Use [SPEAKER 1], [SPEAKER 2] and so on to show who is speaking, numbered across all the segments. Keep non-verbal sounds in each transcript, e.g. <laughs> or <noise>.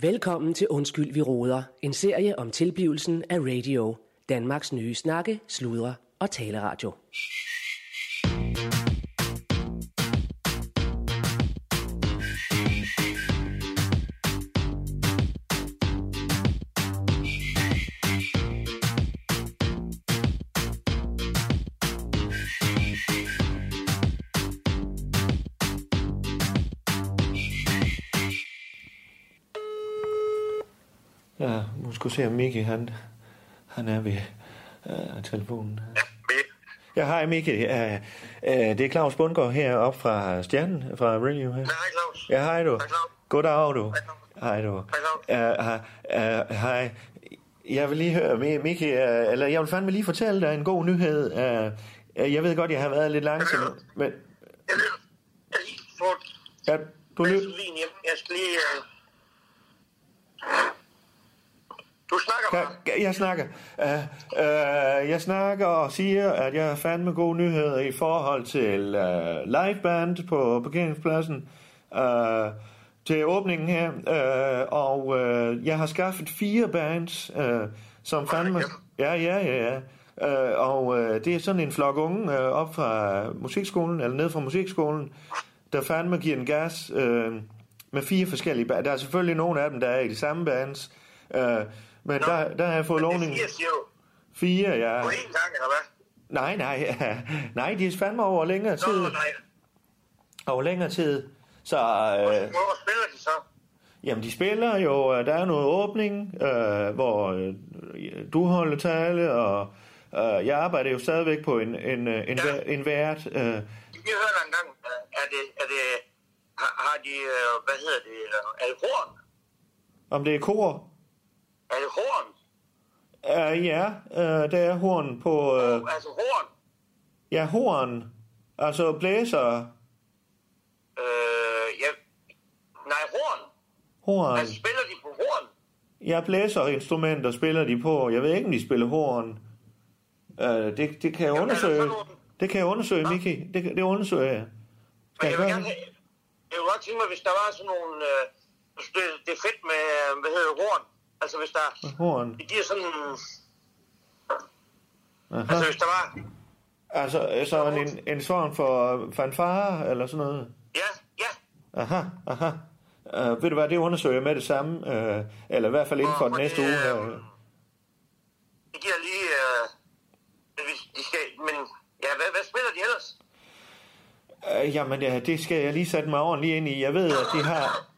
[SPEAKER 1] Velkommen til Undskyld, vi råder. En serie om tilblivelsen af radio. Danmarks nye snakke, sludre og taleradio.
[SPEAKER 2] Ja, nu skal se, om Mikke, han, han er ved øh, telefonen. Ja, hej Mikke. Øh, øh, det er Claus Bundgaard heroppe fra Stjernen, fra Radio her.
[SPEAKER 3] Hej Claus.
[SPEAKER 2] Ja, hej du.
[SPEAKER 3] Hej, Claus.
[SPEAKER 2] Goddag, du.
[SPEAKER 3] Claus.
[SPEAKER 2] Hej, du. Øh,
[SPEAKER 3] Hej,
[SPEAKER 2] Hej. øh, Hej. Jeg vil lige høre, Mi- Mikke, øh, eller jeg vil fandme lige fortælle dig en god nyhed. Øh, øh, Jeg ved godt, jeg har været lidt langsom, men...
[SPEAKER 3] Jeg lytter. Jeg har lige fået
[SPEAKER 2] Ja, du lyt...
[SPEAKER 3] baselvin hjem. Jeg skal lige... Øh... Du snakker
[SPEAKER 2] Ja,
[SPEAKER 3] bare.
[SPEAKER 2] Jeg snakker. Uh, uh, jeg snakker og siger, at jeg har fandme gode nyheder i forhold til uh, liveband på parkeringspladsen uh, til åbningen her. Uh, og uh, jeg har skaffet fire bands, uh, som fandme... Ja, ja, ja, ja. Uh, og uh, det er sådan en flok unge uh, op fra musikskolen, eller ned fra musikskolen, der fandme giver en gas øh, med fire forskellige bands. Der er selvfølgelig nogle af dem, der er i de samme bands, øh, men der, der har jeg fået
[SPEAKER 3] Det
[SPEAKER 2] lovning.
[SPEAKER 3] siger, siger du.
[SPEAKER 2] Fire, ja.
[SPEAKER 3] På én gang, eller hvad?
[SPEAKER 2] Nej, nej, <laughs> ja. nej, de er fandme over længere tid.
[SPEAKER 3] Nå, nej.
[SPEAKER 2] Over længere tid. Så, øh,
[SPEAKER 3] Hvor spiller de så?
[SPEAKER 2] jamen, de spiller jo, øh, der er noget åbning, øh, hvor øh, du holder tale, og øh, jeg arbejder jo stadigvæk på en, en, øh, en, vært- en vært. Øh,
[SPEAKER 3] Vi hører en gang. øh, Er det... Er det har, har de... Øh, hvad hedder det? Øh, er det horn?
[SPEAKER 2] om det er kor?
[SPEAKER 3] Er det horn?
[SPEAKER 2] Øh, ja, øh, der er horn på... Øh,
[SPEAKER 3] Altså horn.
[SPEAKER 2] Ja, horn. Altså blæser.
[SPEAKER 3] Øh, ja. Nej, horn.
[SPEAKER 2] Horn.
[SPEAKER 3] Altså spiller de på horn?
[SPEAKER 2] Ja, blæserinstrumenter spiller de på. Jeg ved ikke, om de spiller horn. Uh, det, det kan jeg
[SPEAKER 3] Jamen, er
[SPEAKER 2] undersøge.
[SPEAKER 3] der sådan nogle-
[SPEAKER 2] Det kan jeg undersøge, Miki. Det, det undersøger jeg.
[SPEAKER 3] Men
[SPEAKER 2] Skal jeg
[SPEAKER 3] jeg vil
[SPEAKER 2] gøre
[SPEAKER 3] gerne
[SPEAKER 2] det?
[SPEAKER 3] have, jeg vil godt tænke mig, hvis der var sådan nogle... Øh, jeg synes, det, det er fedt med, øh, hvad hedder det, horn. Altså hvis der...
[SPEAKER 2] Horn.
[SPEAKER 3] Det giver sådan... Altså
[SPEAKER 2] Aha.
[SPEAKER 3] hvis der var...
[SPEAKER 2] Altså, øh, så en, en form for øh, fanfare eller sådan noget.
[SPEAKER 3] Ja, ja.
[SPEAKER 2] Aha, aha. Uh, ved du hvad, det undersøger jeg med det samme. Uh, eller i hvert fald inden for
[SPEAKER 3] Og-
[SPEAKER 2] den
[SPEAKER 3] og
[SPEAKER 2] næste
[SPEAKER 3] det,
[SPEAKER 2] uge.
[SPEAKER 3] øh,
[SPEAKER 2] Her.
[SPEAKER 3] Det giver lige... Øh, hvis de skal, men ja, hvad, hvad spiller de ellers?
[SPEAKER 2] Øh, jamen, ja, det skal jeg lige sætte mig ordentligt ind i. Jeg ved, at de har...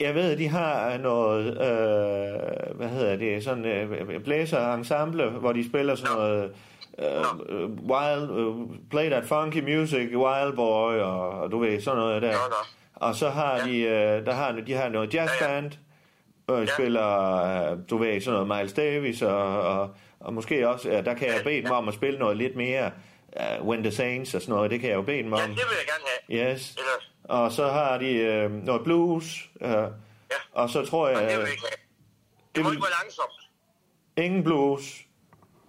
[SPEAKER 2] Jeg ved, at de har noget, øh, hvad hedder det, sådan øh, blæserensemble, hvor de spiller sådan noget øh, øh, wild, øh, play that funky music, wild boy, og, og du ved, sådan noget der.
[SPEAKER 3] Nå, nå.
[SPEAKER 2] Og så har de, øh, der har, de har noget jazzband, og ja.
[SPEAKER 3] Ja.
[SPEAKER 2] spiller, øh, du ved, sådan noget Miles Davis, og, og, og måske også, ja, der kan jeg bede dem om at spille noget lidt mere, uh, When the Saints og sådan noget, det kan jeg jo bede dem om.
[SPEAKER 3] Ja, det vil jeg gerne have.
[SPEAKER 2] Yes.
[SPEAKER 3] Ellers.
[SPEAKER 2] Og så har de øh, noget blues. Øh, ja. Og så tror
[SPEAKER 3] Det
[SPEAKER 2] jeg...
[SPEAKER 3] vil
[SPEAKER 2] Øh,
[SPEAKER 3] jeg ikke have. Det
[SPEAKER 2] det
[SPEAKER 3] må
[SPEAKER 2] vil,
[SPEAKER 3] ikke være langsomt.
[SPEAKER 2] ingen blues.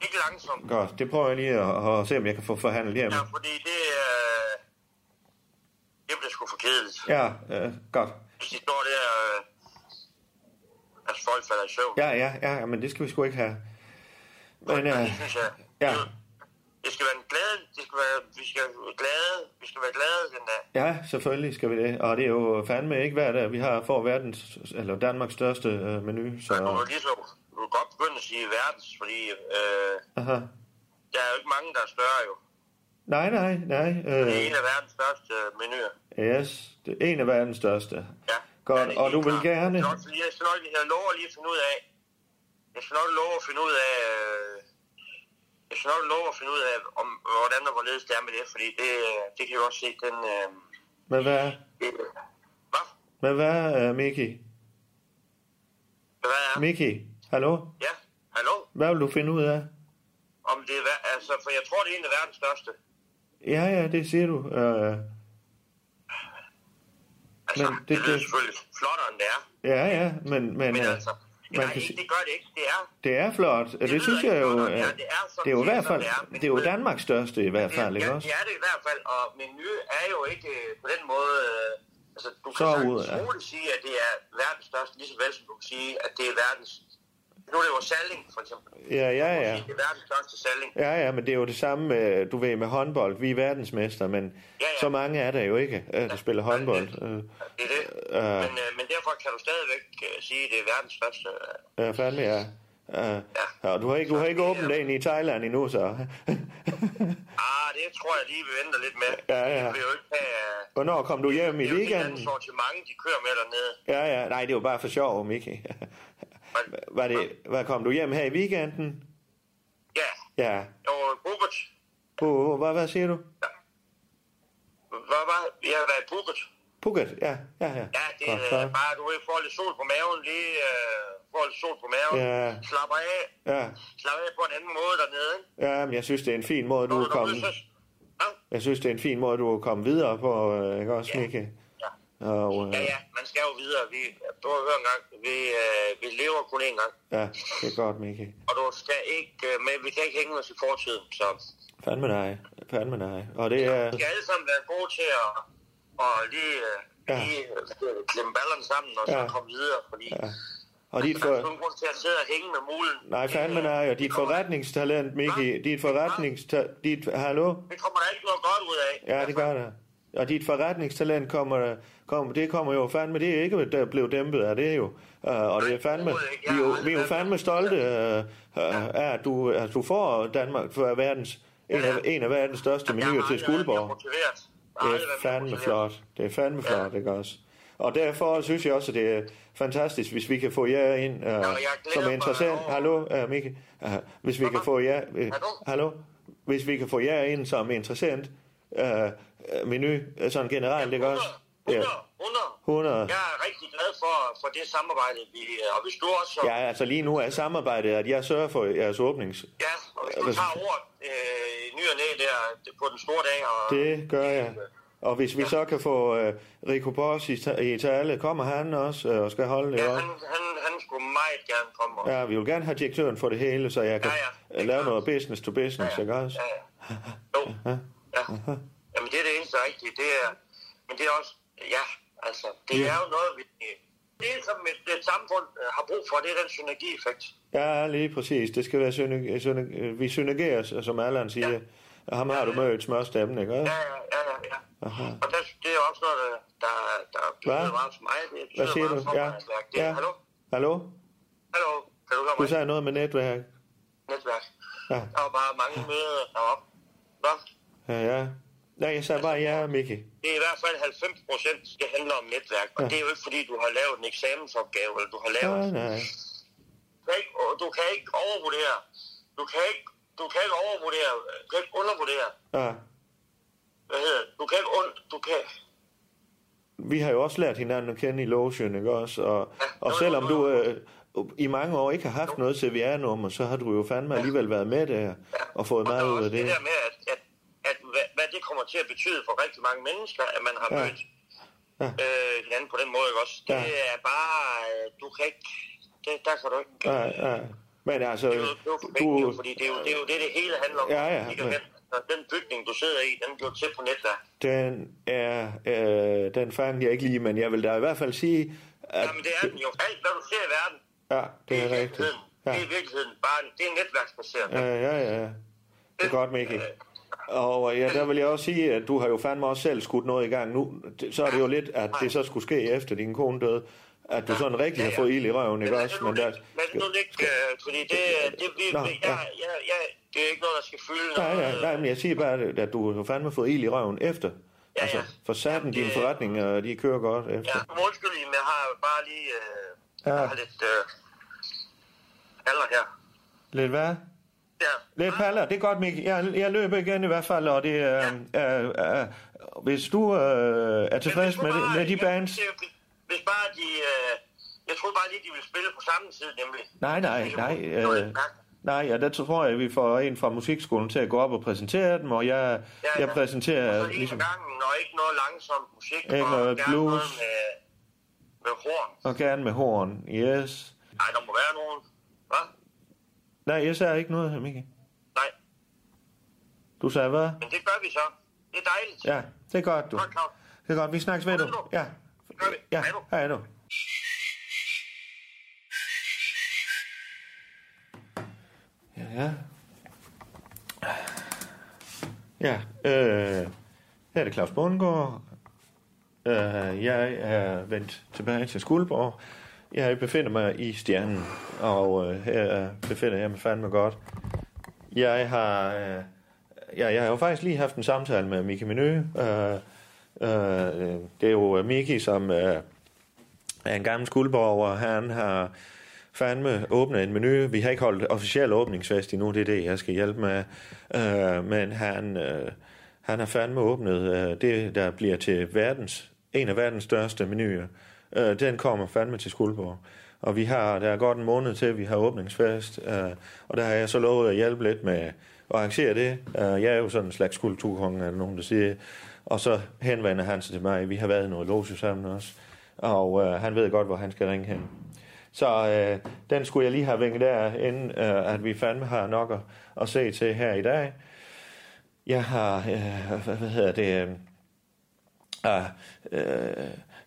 [SPEAKER 3] Ikke langsomt.
[SPEAKER 2] Godt, det prøver jeg lige at, at se, om jeg kan få forhandlet hjem.
[SPEAKER 3] Ja, fordi det... Øh, det bliver sgu for kedeligt.
[SPEAKER 2] Ja, øh, godt.
[SPEAKER 3] Hvis de står der... Øh, altså folk falder i søvn.
[SPEAKER 2] Ja, ja, ja, men det skal vi sgu ikke have. Men
[SPEAKER 3] Men,
[SPEAKER 2] øh,
[SPEAKER 3] det synes jeg.
[SPEAKER 2] ja.
[SPEAKER 3] Det skal være en glad, det skal være, vi skal være glade, vi skal være glade den dag.
[SPEAKER 2] ja, selvfølgelig skal vi det. Og det er jo fandme ikke hver dag, vi har for verdens, eller Danmarks største øh, menu.
[SPEAKER 3] Så du
[SPEAKER 2] Så,
[SPEAKER 3] kan lige så du kan godt begynde at sige verdens, fordi øh,
[SPEAKER 2] aha.
[SPEAKER 3] der er jo ikke mange, der er større jo.
[SPEAKER 2] Nej, nej, nej.
[SPEAKER 3] Det
[SPEAKER 2] Øh,
[SPEAKER 3] er en af verdens største øh, menuer.
[SPEAKER 2] yes, det er en af verdens største.
[SPEAKER 3] Ja.
[SPEAKER 2] Godt,
[SPEAKER 3] Ja, det er
[SPEAKER 2] og
[SPEAKER 3] helt
[SPEAKER 2] du vil
[SPEAKER 3] klart.
[SPEAKER 2] gerne-
[SPEAKER 3] Jeg skal nok, jeg skal nok, jeg lover lige at finde ud af, jeg skal nok love at finde ud af, øh, jeg skal nok love at finde ud af, om, hvordan og hvorledes det er med det, fordi det, øh, det kan jeg godt se, den, øh,
[SPEAKER 2] Men hvad,
[SPEAKER 3] det, hvad?
[SPEAKER 2] men hvad øh, Miki?
[SPEAKER 3] Hvad er?
[SPEAKER 2] Miki, hallo?
[SPEAKER 3] Ja, hallo?
[SPEAKER 2] Hvad vil du finde ud af?
[SPEAKER 3] Om det er, ver- altså, for jeg tror, det er en af verdens største.
[SPEAKER 2] Ja, ja, det siger du. Øh,
[SPEAKER 3] Altså,
[SPEAKER 2] Men
[SPEAKER 3] men
[SPEAKER 2] det-
[SPEAKER 3] det, det lyder
[SPEAKER 2] det-
[SPEAKER 3] selvfølgelig flottere, end det er.
[SPEAKER 2] ja, ja, men, men
[SPEAKER 3] Men
[SPEAKER 2] øh,
[SPEAKER 3] altså,
[SPEAKER 2] man
[SPEAKER 3] nej,
[SPEAKER 2] kan
[SPEAKER 3] ikke,
[SPEAKER 2] sige-
[SPEAKER 3] det gør det ikke. Det er,
[SPEAKER 2] det er flot. Det, det
[SPEAKER 3] lyder
[SPEAKER 2] synes
[SPEAKER 3] ikke
[SPEAKER 2] jeg jo,
[SPEAKER 3] flot,
[SPEAKER 2] øh,
[SPEAKER 3] og det er- det er sådan
[SPEAKER 2] det er jo i
[SPEAKER 3] set,
[SPEAKER 2] hvert fald,
[SPEAKER 3] som det er, men
[SPEAKER 2] det er jo
[SPEAKER 3] det-
[SPEAKER 2] Danmarks største i hvert
[SPEAKER 3] det,
[SPEAKER 2] fald, ikke
[SPEAKER 3] ja,
[SPEAKER 2] også?
[SPEAKER 3] det er det i hvert fald, og menu er jo ikke øh, på den måde øh, Altså, du
[SPEAKER 2] Så
[SPEAKER 3] kan
[SPEAKER 2] er
[SPEAKER 3] sagtens
[SPEAKER 2] ordet, ja.
[SPEAKER 3] roligt sige, at det er verdens største, lige så vel som du kan sige, at det er verdens... Nu er det jo Salling, for eksempel.
[SPEAKER 2] Ja, ja,
[SPEAKER 3] Ja.
[SPEAKER 2] ja.
[SPEAKER 3] Det er verdens største Salling.
[SPEAKER 2] Ja, ja, men det er jo det samme, med, du ved, med håndbold. Vi er verdensmester, men ja,
[SPEAKER 3] ja.
[SPEAKER 2] ja. så mange er der jo ikke, øh, der spiller håndbold. Øh,
[SPEAKER 3] Det er det.
[SPEAKER 2] Øh.
[SPEAKER 3] Men, øh, men derfor kan du stadigvæk øh, sige, at det er verdens største... Øh,
[SPEAKER 2] Ja, fandme, ja. Ja. ja. Du har ikke, du har ikke åbnet den i Thailand endnu, så. <laughs>
[SPEAKER 3] ah, det tror jeg lige, vi venter lidt med.
[SPEAKER 2] Ja, ja.
[SPEAKER 3] Det vil jo ikke have... Øh,
[SPEAKER 2] Hvornår kom du hjem i
[SPEAKER 3] det er jo ikke et eller
[SPEAKER 2] weekenden?
[SPEAKER 3] andet sortiment, de kører med dernede.
[SPEAKER 2] Ja, ja. Nej, det var bare for sjov, Miki.
[SPEAKER 3] Men,
[SPEAKER 2] Var det, <laughs> hvad kom du hjem her i weekenden?
[SPEAKER 3] Ja,
[SPEAKER 2] Ja.
[SPEAKER 3] og Bukert.
[SPEAKER 2] På, hvad, hvad siger du?
[SPEAKER 3] Hvad var Vi har været i Bukert.
[SPEAKER 2] Phuket? Ja, ja, ja.
[SPEAKER 3] Ja, det
[SPEAKER 2] Godt,
[SPEAKER 3] er
[SPEAKER 2] så.
[SPEAKER 3] øh, bare, du ved, får lidt sol på maven lige. Øh, får lidt sol på maven.
[SPEAKER 2] Ja.
[SPEAKER 3] Slapper af.
[SPEAKER 2] Ja,
[SPEAKER 3] Slapper af på en anden måde dernede. ikke?
[SPEAKER 2] ja men jeg synes, det er en fin måde,
[SPEAKER 3] Når
[SPEAKER 2] du er
[SPEAKER 3] derude,
[SPEAKER 2] kommet.
[SPEAKER 3] så- Ja,
[SPEAKER 2] Jeg synes, det er en fin måde, du er kommet videre på, øh, ikke også,
[SPEAKER 3] Ja.
[SPEAKER 2] Miki?
[SPEAKER 3] ja.
[SPEAKER 2] Og, øh,
[SPEAKER 3] Ja, ja, man skal jo videre. Vi, du har hørt en gang, vi, øh, vi lever kun én gang.
[SPEAKER 2] ja, det er godt, Miki.
[SPEAKER 3] Og du skal ikke, øh, men vi kan ikke hænge os i fortiden, så
[SPEAKER 2] Fandme nej. Fandme nej. Og det er...
[SPEAKER 3] vi skal alle sammen være gode til at, at lige, øh,
[SPEAKER 2] Ja.
[SPEAKER 3] lige øh, klemme ballerne sammen og så
[SPEAKER 2] Ja.
[SPEAKER 3] komme videre, fordi
[SPEAKER 2] Ja.
[SPEAKER 3] ja.
[SPEAKER 2] Og dit
[SPEAKER 3] der er
[SPEAKER 2] for...
[SPEAKER 3] kun grund til at sidde og hænge med mulen.
[SPEAKER 2] Nej, fandme nej, og dit forretningstalent, Miki, dit forretningstalent, dit, hallo?
[SPEAKER 3] Det kommer der ikke noget godt ud af.
[SPEAKER 2] Ja, det gør det. Og dit forretningstalent kommer, kommer, det kommer jo fandme, det er ikke der blev dæmpet af det jo. Uh, og det er fandme, vi er jo, vi er jo fandme stolte uh, uh, af, at du, at du får Danmark for verdens, en af, en af verdens største menuer til
[SPEAKER 3] Jeg har
[SPEAKER 2] Skuldborg.
[SPEAKER 3] aldrig været mere motiveret. Jeg har
[SPEAKER 2] Det
[SPEAKER 3] aldrig
[SPEAKER 2] er
[SPEAKER 3] været mere
[SPEAKER 2] fandme
[SPEAKER 3] motiveret.
[SPEAKER 2] flot. Det er fandme flot, ikke også? Og derfor synes jeg også, at det er fantastisk, hvis vi kan få jer ind uh, som interessant. Hallo, uh, Mikke. Uh, hvis vi kan få jer... Uh, hallo? Hvis vi kan få jer ind som interessant uh, menu, øh, sådan generelt, ikke også?
[SPEAKER 3] 100,
[SPEAKER 2] Ja,
[SPEAKER 3] 100.
[SPEAKER 2] 100.
[SPEAKER 3] Jeg er rigtig glad for, for det samarbejde, vi, øh, og hvis du også
[SPEAKER 2] Ja, altså lige nu er samarbejdet, at jeg sørger for jeres åbnings.
[SPEAKER 3] Ja, og hvis du tager ordet øh, i ny og næ der på den store dag, og
[SPEAKER 2] Det gør jeg. Og hvis vi så kan få uh, Rico Boss i, ta- i tale, kommer han også øh, og skal holde det
[SPEAKER 3] ja,
[SPEAKER 2] også?
[SPEAKER 3] han, han, han skulle meget gerne komme. Og,
[SPEAKER 2] Ja, vi vil gerne have direktøren for det hele, så jeg kan
[SPEAKER 3] Ja, ja.
[SPEAKER 2] øh, lave noget business to business, ikke også?
[SPEAKER 3] ja, ja. Jo, ja. Jamen det er det eneste rigtige, det er, men det er også, ja, altså, det er jo noget, vi, det som et, et samfund øh, har brug for, det er den synergieffekt.
[SPEAKER 2] Ja, lige præcis. Det skal være synerg- synerg- øh, vi synergeres, som Allan siger. Og ham har du mødt smørstemmen, ikke også?
[SPEAKER 3] Ja, ja, ja, ja, ja. Og der, det er også noget, der, der, der betyder meget for mig. Det betyder
[SPEAKER 2] Hvad siger
[SPEAKER 3] meget
[SPEAKER 2] du?
[SPEAKER 3] for
[SPEAKER 2] Ja.
[SPEAKER 3] mig, at mærke det.
[SPEAKER 2] ja.
[SPEAKER 3] Hallo?
[SPEAKER 2] Hallo?
[SPEAKER 3] Hallo? Kan du høre
[SPEAKER 2] Du
[SPEAKER 3] mig?
[SPEAKER 2] sagde noget med netværk.
[SPEAKER 3] Netværk.
[SPEAKER 2] Ja.
[SPEAKER 3] Der var bare mange møder deroppe. Nå?
[SPEAKER 2] Ja, ja. Nej, jeg sagde bare ja, Miki.
[SPEAKER 3] Det er i hvert fald 90 procent, det handler om netværk. Og
[SPEAKER 2] Ja.
[SPEAKER 3] det er jo ikke, fordi du har lavet en eksamensopgave, eller du har lavet...
[SPEAKER 2] Nej, nej.
[SPEAKER 3] Du kan ikke, og du kan ikke overvurdere. Du kan ikke, du kan ikke overvurdere. Du kan ikke undervurdere.
[SPEAKER 2] Ja.
[SPEAKER 3] Hvad hedder det? Du kan ikke und... Du kan...
[SPEAKER 2] Vi har jo også lært hinanden at kende i lotion, ikke også? Og, og selvom du øh, i mange år ikke har haft noget CVR-nummer, så har du jo fandme alligevel været med der og fået
[SPEAKER 3] og der
[SPEAKER 2] meget
[SPEAKER 3] er
[SPEAKER 2] ud
[SPEAKER 3] også
[SPEAKER 2] af det.
[SPEAKER 3] det der med, at, at, at hvad, hvad det kommer til at betyde for rigtig mange mennesker, at man har
[SPEAKER 2] Ja.
[SPEAKER 3] mødt
[SPEAKER 2] Ja.
[SPEAKER 3] øh, hinanden på den måde, ikke også? Det
[SPEAKER 2] Ja.
[SPEAKER 3] er bare... øh, Du kan ikke... Det, der kan du ikke...
[SPEAKER 2] Nej, nej. Men altså,
[SPEAKER 3] Det er jo- det er jo
[SPEAKER 2] du,
[SPEAKER 3] forpligtende, fordi det er jo det, er jo det, det hele handler om.
[SPEAKER 2] Ja, ja,
[SPEAKER 3] Ikke?
[SPEAKER 2] men-
[SPEAKER 3] Den, den bygning, du sidder i, den blev til på netværk.
[SPEAKER 2] den er, øh, den fangede jeg ikke lige, men jeg vil da i hvert fald sige, at
[SPEAKER 3] Jamen, det er den jo. Alt, hvad du ser i verden,
[SPEAKER 2] ja, det er rigtigt.
[SPEAKER 3] virkeligheden.
[SPEAKER 2] Ja,
[SPEAKER 3] Det er i virkeligheden bare det er netværksbaseret.
[SPEAKER 2] ja, ja, ja. Det er godt, Mikkel. Og ja, der vil jeg også sige, at du har jo fandme også selv skudt noget i gang nu. Det- Så er det jo lidt, at det så skulle ske efter din kone døde, at du sådan rigtig har fået ild i røven, ikke også? Men der,
[SPEAKER 3] Men det er nu ikke, øh, fordi det, det, det,
[SPEAKER 2] Nå,
[SPEAKER 3] jeg,
[SPEAKER 2] ja.
[SPEAKER 3] jeg, jeg, det er ikke noget, der skal fylde
[SPEAKER 2] nej,
[SPEAKER 3] noget.
[SPEAKER 2] nej, nej, men jeg siger bare, at du har fandme fået ild i røven efter.
[SPEAKER 3] ja.
[SPEAKER 2] Altså, for satan,
[SPEAKER 3] Jamen,
[SPEAKER 2] dine
[SPEAKER 3] det-
[SPEAKER 2] forretninger, de kører godt
[SPEAKER 3] Ja,
[SPEAKER 2] efter.
[SPEAKER 3] undskyld, men jeg har bare lige øh,
[SPEAKER 2] Ja.
[SPEAKER 3] jeg har lidt øh, alder her.
[SPEAKER 2] Lidt hvad?
[SPEAKER 3] Ja.
[SPEAKER 2] Lidt paller, det er godt, Mikkel. Jeg, jeg løber igen i hvert fald, og det er... Øh, øh, øh, hvis du øh, er
[SPEAKER 3] Men hvis
[SPEAKER 2] tilfreds
[SPEAKER 3] nu
[SPEAKER 2] med, det-
[SPEAKER 3] bare-
[SPEAKER 2] med de
[SPEAKER 3] jeg-
[SPEAKER 2] bands...
[SPEAKER 3] jeg- Hvis bare de... Øh, jeg troede bare lige, de ville spille på samme tid, nemlig.
[SPEAKER 2] Nej, nej,
[SPEAKER 3] Ligesom-
[SPEAKER 2] nej.
[SPEAKER 3] Nå,
[SPEAKER 2] Øh, nej, ja, der tror jeg, at vi får en fra musikskolen til at gå op og præsentere dem, og jeg,
[SPEAKER 3] Ja, ja.
[SPEAKER 2] jeg præsenterer...
[SPEAKER 3] Og så ligesom...
[SPEAKER 2] ligesom,
[SPEAKER 3] gangen, og ikke noget langsomt musik.
[SPEAKER 2] Ikke
[SPEAKER 3] og
[SPEAKER 2] noget
[SPEAKER 3] gerne
[SPEAKER 2] blues.
[SPEAKER 3] Noget med, med horn.
[SPEAKER 2] og gerne med horn, yes.
[SPEAKER 3] Nej, der må være nogen. Hva?
[SPEAKER 2] Nej, jeg sagde ikke noget her, Mikkel.
[SPEAKER 3] Nej,
[SPEAKER 2] Du sagde hvad?
[SPEAKER 3] men det gør vi så. Det er dejligt.
[SPEAKER 2] Ja, det er godt, du.
[SPEAKER 3] Godt, Claus.
[SPEAKER 2] Det er godt, vi snakkes ved, du. Ja,
[SPEAKER 3] gør vi.
[SPEAKER 2] Ja,
[SPEAKER 3] Er du?
[SPEAKER 2] her er du. Ja. Ja, øh, her er det Claus Bundgaard. Øh, jeg er vendt tilbage til Skuldborg. Jeg befinder mig i Stjernen, og øh, her befinder jeg mig fandme godt. Jeg har, øh, ja, jeg har jo faktisk lige haft en samtale med Miki Menø. Øh, øh, det er jo øh, Miki, som øh, er en gammel skuldborger. Han har fandme åbnet en menu. Vi har ikke holdt officiel åbningsfest endnu, det er det, jeg skal hjælpe med. Øh, men han, øh, han har fandme åbnet øh, det, der bliver til verdens, en af verdens største menuer. Øh, den kommer fandme til Skuldborg. Og vi har, der er godt en måned til, vi har åbningsfest, øh, og der har jeg så lovet at hjælpe lidt med at arrangere det. Øh, jeg er jo sådan en slags kulturkonge, er der nogen, der siger. Og så henvender han sig til mig. Vi har været i noget loge sammen også. Og øh, han ved godt, hvor han skal ringe hen. Så øh, den skulle jeg lige have vinket der, inden øh, at vi fandme har nok at, at se til her i dag. Jeg har, øh, hvad, hvad hedder det, øh, Ah, øh,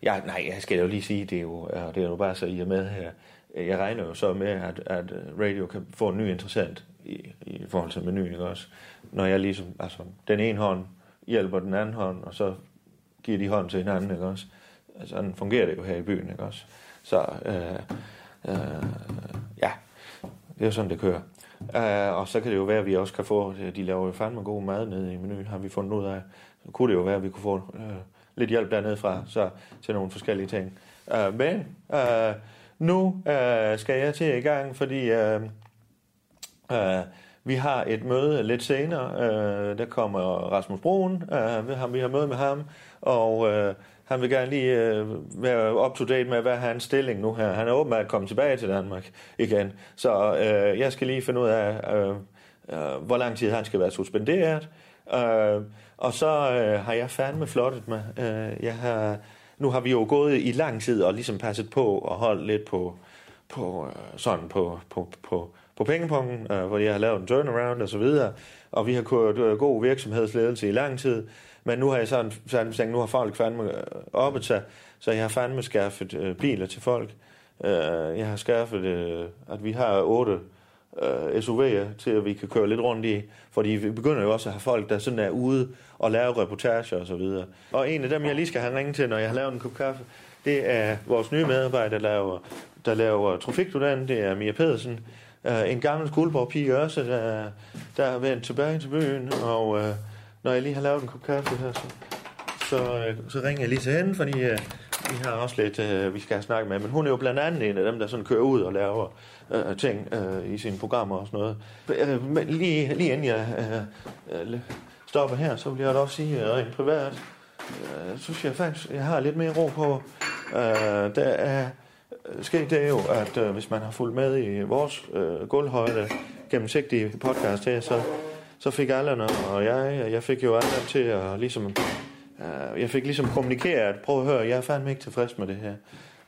[SPEAKER 2] ja, nej, jeg skal jo lige sige, det er jo, ja, det er jo bare så, I er med her. Jeg regner jo så med, at, at radio kan få en ny interessant i, i forhold til menuen, ikke også? Når jeg ligesom, altså, den ene hånd hjælper den anden hånd, og så giver de hånd til hinanden, ikke også? Altså, sådan fungerer det jo her i byen, ikke også? Så, øh, øh, ja, det er jo sådan, det kører. Uh, og så kan det jo være, at vi også kan få, øh, de laver jo fandme god mad nede i menuen, har vi fundet ud af. Så kunne det jo være, at vi kunne få uh, lidt hjælp dernede fra, så til nogle forskellige ting. Uh, men uh, nu uh, skal jeg til i gang, fordi uh, uh, vi har et møde lidt senere. Uh, der kommer Rasmus Broen, uh, vi, har, vi har møde med ham, og uh, han vil gerne lige uh, være up to date med, hvad er hans stilling nu her. Han er åbenbart kommet tilbage til Danmark igen, så uh, jeg skal lige finde ud af, uh, uh, hvor lang tid han skal være suspenderet. Uh, og så uh, har jeg fandme flottet mig. Uh, jeg har, nu har vi jo gået i lang tid og ligesom passet på og holdt lidt på, på øh, sådan på, på, på, på pengepunkten, øh, hvor jeg har lavet en turnaround og så videre, og vi har kørt øh, god virksomhedsledelse i lang tid, men nu har jeg sådan, sådan tænkt, nu har folk fandme øh, oppet sig, så jeg har fandme skaffet øh, biler til folk. Øh, jeg har skaffet, øh, at vi har otte øh, SUV'er til, at vi kan køre lidt rundt i, fordi vi begynder jo også at have folk, der sådan er ude og laver reportager og så videre. Og en af dem, jeg lige skal have ringet til, når jeg har lavet en kop kaffe, det er vores nye medarbejder, der laver, der laver trafikdudan, det er Mia Pedersen. Uh, en gammel skuldborg-pige også, der, der er vendt tilbage til byen, og uh, når jeg lige har lavet en kop kaffe her, så, så, øh, så ringer jeg lige til hende, fordi øh, vi har også lidt, øh, vi skal have snakket med. Men hun er jo blandt andet en af dem, der sådan kører ud og laver øh, ting øh, i sine programmer og sådan noget. Øh, men lige, lige inden jeg øh, øh, stopper her, så vil jeg da også sige øh, rent privat, øh, synes jeg faktisk, jeg har lidt mere ro på. Øh, der er sket det jo, at øh, hvis man har fulgt med i vores øh, gulvhøjde gennemsigtige podcast her, så, så fik Allan og jeg, jeg fik jo Allan til at ligesom Øh, Jeg fik ligesom kommunikeret, prøv at høre, jeg er fandme ikke tilfreds med det her.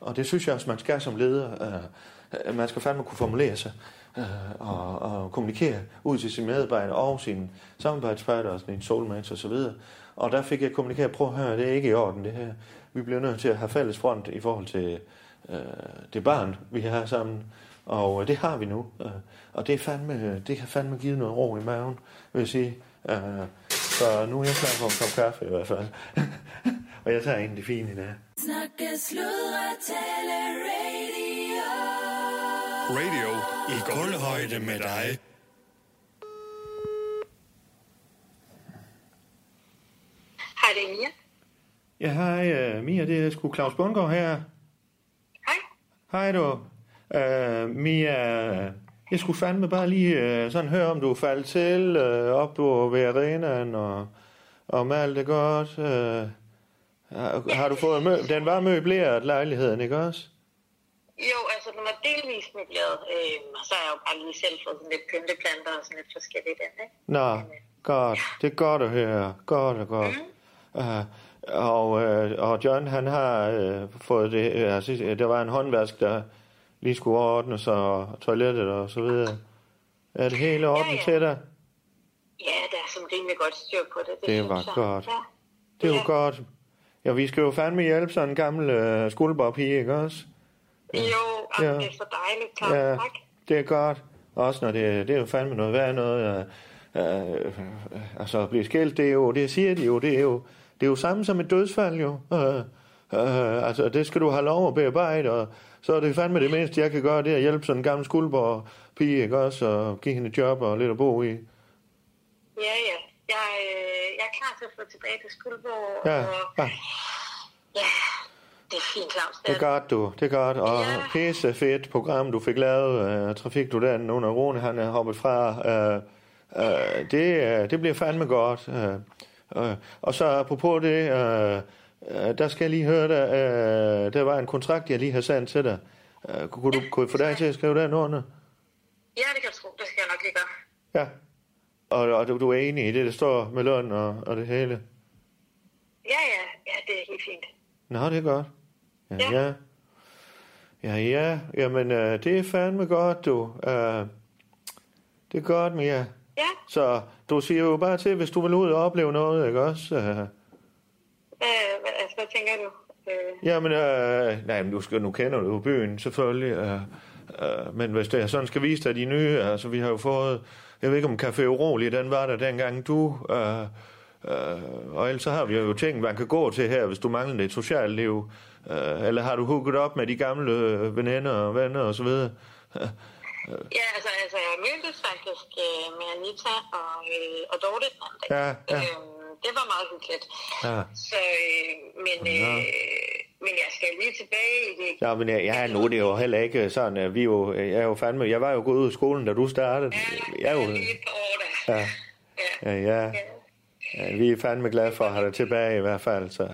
[SPEAKER 2] Og det synes jeg også, man skal som leder. øh, øh, Man skal fandme kunne formulere sig øh, og, og kommunikere ud til sine medarbejdere og sine samarbejdspartnere og sine soulmates osv. Og, og der fik jeg kommunikeret, prøv at høre, det er ikke i orden det her. Vi bliver nødt til at have fælles front i forhold til øh, det barn, vi har sammen. Og øh, det har vi nu. Øh, og det, er fandme, øh, det har fandme givet noget ro i maven, vil jeg sige. Øh, så nu er jeg klar på en kop kaffe i hvert fald. <laughs> og jeg tager en af de fine der.
[SPEAKER 4] Snakke, sludre, tale, radio.
[SPEAKER 5] Radio i gulvhøjde med dig.
[SPEAKER 6] Hej, det er Mia.
[SPEAKER 2] Ja, hej uh, Mia, det er sgu Claus Bundgaard her.
[SPEAKER 6] Hej.
[SPEAKER 2] Hej du. Uh, Mia, jeg skulle fandme bare lige uh, sådan høre, om du faldt til uh, op på ved arenaen, og om alt er godt. Uh, har, har du fået mø- Den var møbleret lejligheden, ikke også?
[SPEAKER 6] Jo, altså den var delvis møbleret, øh, og så har jeg jo bare lige selv fået sådan lidt pynteplanter og sådan lidt forskelligt andet. ikke?
[SPEAKER 2] Nå, godt. Det er godt at høre. Godt og godt. Mm. Uh, og, øh, og John, han har øh, fået det... Øh, altså, øh, der var en håndvask, der lige skulle ordnes, og toilettet og så videre. Er det hele orden
[SPEAKER 6] ja.
[SPEAKER 2] til dig?
[SPEAKER 6] Ja, der er sådan rimelig godt styr på det.
[SPEAKER 2] Det
[SPEAKER 6] synes
[SPEAKER 2] var
[SPEAKER 6] jeg.
[SPEAKER 2] godt.
[SPEAKER 6] Ja.
[SPEAKER 2] Det er jo
[SPEAKER 6] Ja.
[SPEAKER 2] godt. Ja, vi skal jo fandme hjælpe sådan en gammel øh, skulderbørpige, ikke også?
[SPEAKER 6] Jo,
[SPEAKER 2] Ja.
[SPEAKER 6] ja. det er så dejligt. Tak.
[SPEAKER 2] Ja,
[SPEAKER 6] Ja. tak.
[SPEAKER 2] det er godt. Også når det, det er jo fandme noget værd noget. Øh, øh, øh, altså at blive skilt, det er jo, det siger de jo, det er jo, det er jo samme som et dødsfald jo. Øh, øh, altså det skal du have lov at bearbejde, og så er det fandme det mindste, jeg kan gøre, det er at hjælpe sådan en gammel skuldborg pige, ikke også, og give hende et job og lidt at bo i.
[SPEAKER 6] Ja, ja. Jeg, øh, jeg er klar til at få tilbage til Skuldborg.
[SPEAKER 2] Ja,
[SPEAKER 6] Og,
[SPEAKER 2] ja
[SPEAKER 6] ja, det er fint, Claus.
[SPEAKER 2] det er godt du, det er godt, og
[SPEAKER 6] Ja.
[SPEAKER 2] pisse fedt program, du fik lavet, øh, trafikdudanten under Rune, han er hoppet fra, øh, øh, det, øh, det bliver fandme godt. Øh, øh, og så apropos det, øh, øh, der skal jeg lige høre dig, øh, der var en kontrakt, jeg lige har sendt til dig. Øh, kunne, du, kunne jeg få dig til at skrive den under?
[SPEAKER 6] Ja, det kan du tro. Det skal jeg nok lige gøre.
[SPEAKER 2] Ja. Og, og du, du er enig i det, der står med løn og, og det hele?
[SPEAKER 6] Ja, ja. Ja, det er helt fint.
[SPEAKER 2] Nå, det er godt. Ja,
[SPEAKER 6] Ja.
[SPEAKER 2] ja. Ja, ja. Jamen, øh, det er fandme godt, du. Øh, det er godt, Mia.
[SPEAKER 6] Ja,
[SPEAKER 2] Så du siger jo bare til, hvis du vil ud og opleve noget, ikke også? Øh,
[SPEAKER 6] øh, hvad, altså, hvad tænker du? Øh,
[SPEAKER 2] jamen, øh, nej, men du skal, nu kender du jo byen, selvfølgelig. Øh, øh, men hvis det er sådan, skal vise dig de nye, altså vi har jo fået... Jeg ved ikke, om Café Urolig, den var der dengang du... Øh, øh, og ellers så har vi jo ting, man kan gå til her, hvis du mangler et socialt liv. Øh, eller har du hooket op med de gamle øh, veninder og venner og så videre?
[SPEAKER 6] ja, altså, altså jeg mødtes faktisk øh, med Anita og, øh, og Dorte den anden dag.
[SPEAKER 2] Ja, ja.
[SPEAKER 6] Øh, det var meget hyggeligt.
[SPEAKER 2] Ja.
[SPEAKER 6] Så, øh, men, øh, men jeg skal lige tilbage i det.
[SPEAKER 2] Ja, men jeg, jeg, nu det er jo heller ikke sådan, at vi er jo, jeg er jo fandme, jeg var jo gået ud af skolen, da du startede. øh, Jeg er jo,
[SPEAKER 6] lige et par år, da.
[SPEAKER 2] Ja. Ja,
[SPEAKER 6] ja.
[SPEAKER 2] Øh, ja. ja vi er fandme glade for at have dig tilbage i hvert fald, så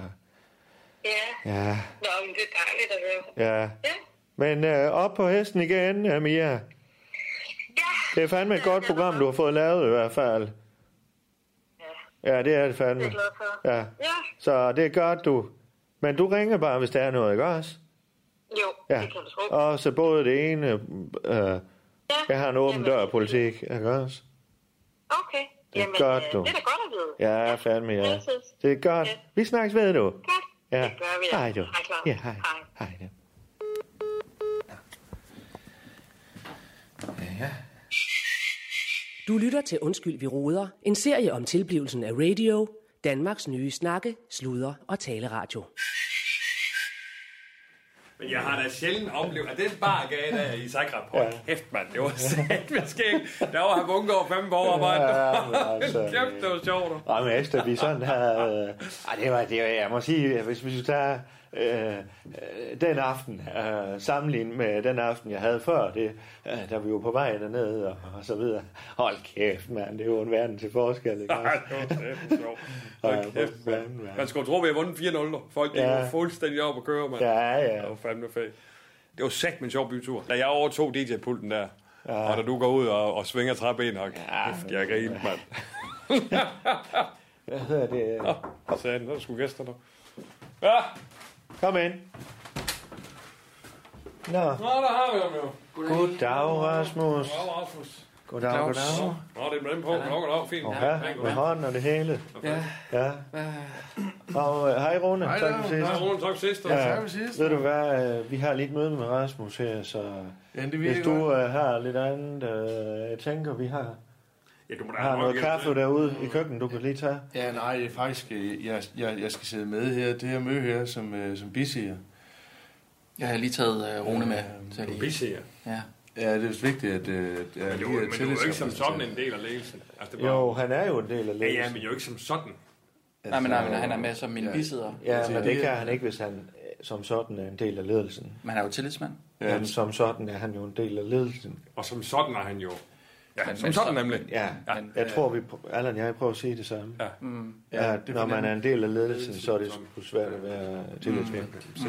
[SPEAKER 6] ja.
[SPEAKER 2] ja,
[SPEAKER 6] Nå, men det er dejligt at høre.
[SPEAKER 2] ja.
[SPEAKER 6] Ja.
[SPEAKER 2] Men øh, op på hesten igen, øh, Mia.
[SPEAKER 6] Ja.
[SPEAKER 2] Det er fandme et godt program, du har fået lavet i hvert fald.
[SPEAKER 6] Ja,
[SPEAKER 2] Ja, det er det
[SPEAKER 6] det er
[SPEAKER 2] fandme.
[SPEAKER 6] jeg glad for.
[SPEAKER 2] Ja,
[SPEAKER 6] ja.
[SPEAKER 2] så det er godt, du. Men du ringer bare, hvis der er noget, ikke også?
[SPEAKER 6] Jo,
[SPEAKER 2] Ja,
[SPEAKER 6] det kan du tro.
[SPEAKER 2] og så både det ene, øh,
[SPEAKER 6] Ja.
[SPEAKER 2] jeg har en åben
[SPEAKER 6] Jamen,
[SPEAKER 2] dør-politik, ikke også?
[SPEAKER 6] Okay.
[SPEAKER 2] er
[SPEAKER 6] Jamen,
[SPEAKER 2] godt,
[SPEAKER 6] øh,
[SPEAKER 2] du.
[SPEAKER 6] Det er da godt at vide.
[SPEAKER 2] Ja, fandme, ja.
[SPEAKER 6] Altid.
[SPEAKER 2] Det er godt. Vi snakkes ved, du.
[SPEAKER 6] Godt.
[SPEAKER 2] Ja.
[SPEAKER 6] Det gør vi. da.
[SPEAKER 2] Hej, du.
[SPEAKER 6] Hej, Claus.
[SPEAKER 2] Ja, hej.
[SPEAKER 6] hej.
[SPEAKER 2] Hej, du.
[SPEAKER 1] Du lytter til Undskyld, vi roder. En serie om tilblivelsen af radio. Danmarks nye snakke, sludre og taleradio.
[SPEAKER 7] Men jeg har da sjældent oplevet, at den bar gav der i Zagreb. Hold kæft, mand. Det var <laughs> satme skægt. Der var han unge over 15 år, mand. <laughs>
[SPEAKER 2] Ja, men altså,
[SPEAKER 7] Kæft, det var sjovt.
[SPEAKER 2] Og med Esther, vi sådan her... Øh, ej, det var, det var, jeg må sige, hvis vi skulle tage øh, øh, den aften, øh, sammenlignet med den aften, jeg havde før, det, øh, der vi jo på vej derned og, og så videre. Hold kæft, mand, det er jo en verden til forskel, ikke?
[SPEAKER 8] <laughs>
[SPEAKER 7] Ej, det var satme sjovt.
[SPEAKER 2] Ja,
[SPEAKER 7] Hold
[SPEAKER 2] hvor
[SPEAKER 7] kæft,
[SPEAKER 2] fanden,
[SPEAKER 7] mand.
[SPEAKER 2] mand.
[SPEAKER 7] Man skulle tro, vi havde vundet 4-0. dog. Folk gik
[SPEAKER 2] Ja.
[SPEAKER 7] ja. fuldstændig op og køre, mand.
[SPEAKER 2] Ja, ja.
[SPEAKER 7] Det var fandme fedt. Det var sagt en sjov bytur. Da jeg overtog DJ-pulten der, ja. og da du går ud og, og svinger træben, og kæft, jeg griner, mand.
[SPEAKER 2] Hvad hedder det?
[SPEAKER 7] Og sagde han, der skulle gæster der. Ja,
[SPEAKER 2] Kom ind. Nå,
[SPEAKER 7] nå, der har vi ham jo.
[SPEAKER 2] goddag, Rasmus.
[SPEAKER 7] Goddag, Rasmus.
[SPEAKER 2] Goddag, goddag.
[SPEAKER 7] Nå, det er blandt på. Goddag, goddag, fint.
[SPEAKER 2] Ja, med hånden og det hele.
[SPEAKER 9] Ja.
[SPEAKER 2] Ja. Og øh, hej, Rune. Hej, tak for sidst.
[SPEAKER 7] Hej, Rune, tak for sidst.
[SPEAKER 2] Ja,
[SPEAKER 9] for sidst.
[SPEAKER 2] Ved du hvad, øh, vi har lige et møde med Rasmus her, så
[SPEAKER 9] Ja, det
[SPEAKER 2] hvis
[SPEAKER 9] virker
[SPEAKER 2] du
[SPEAKER 9] du...
[SPEAKER 2] øh, har lidt andet, øh, jeg tænker, vi har,
[SPEAKER 7] Ja, du må da
[SPEAKER 2] har
[SPEAKER 7] have
[SPEAKER 2] noget
[SPEAKER 7] hjælp
[SPEAKER 2] kaffe
[SPEAKER 7] til.
[SPEAKER 2] derude i køkkenet, du kan lige tage.
[SPEAKER 9] Ja, nej, det er faktisk, øh, jeg, jeg, jeg skal sidde med her. Det her møde her, som, øh, som bisiger.
[SPEAKER 10] Jeg har lige taget uh, Rune med. Så
[SPEAKER 7] Du er
[SPEAKER 10] lige.
[SPEAKER 7] busy, ja.
[SPEAKER 10] Ja.
[SPEAKER 9] Ja, det er vist vigtigt, at... Øh, at jeg
[SPEAKER 7] Men
[SPEAKER 9] lige
[SPEAKER 7] du, men du er jo ikke som sådan
[SPEAKER 9] tillidsrepræsentant.
[SPEAKER 7] en del af ledelsen. Altså, det er
[SPEAKER 2] Jo,
[SPEAKER 7] bare,
[SPEAKER 2] han er jo en del af
[SPEAKER 7] ja, ja,
[SPEAKER 2] ledelsen.
[SPEAKER 7] men jo ikke som sådan.
[SPEAKER 10] Nej, men, nej, men han er med som min bisidder.
[SPEAKER 2] Altså, Ja, men det
[SPEAKER 9] det-
[SPEAKER 2] kan han ikke, hvis han øh, som sådan er en del af ledelsen.
[SPEAKER 10] Men han er jo tillidsmand.
[SPEAKER 9] Ja,
[SPEAKER 2] Men som sådan er han jo en del af ledelsen.
[SPEAKER 7] Og som sådan er han jo. Ja,
[SPEAKER 10] Men-
[SPEAKER 7] som
[SPEAKER 10] men
[SPEAKER 7] sådan
[SPEAKER 10] så-
[SPEAKER 7] nemlig.
[SPEAKER 2] Ja,
[SPEAKER 10] Men,
[SPEAKER 2] jeg tror, vi pr- Allan og jeg prøver at sige det samme.
[SPEAKER 7] Ja.
[SPEAKER 2] Ja,
[SPEAKER 9] det
[SPEAKER 2] når man
[SPEAKER 9] fornemmer-
[SPEAKER 2] er en del af ledelsen, så er det sgu svært at være tillidsmand.
[SPEAKER 10] Det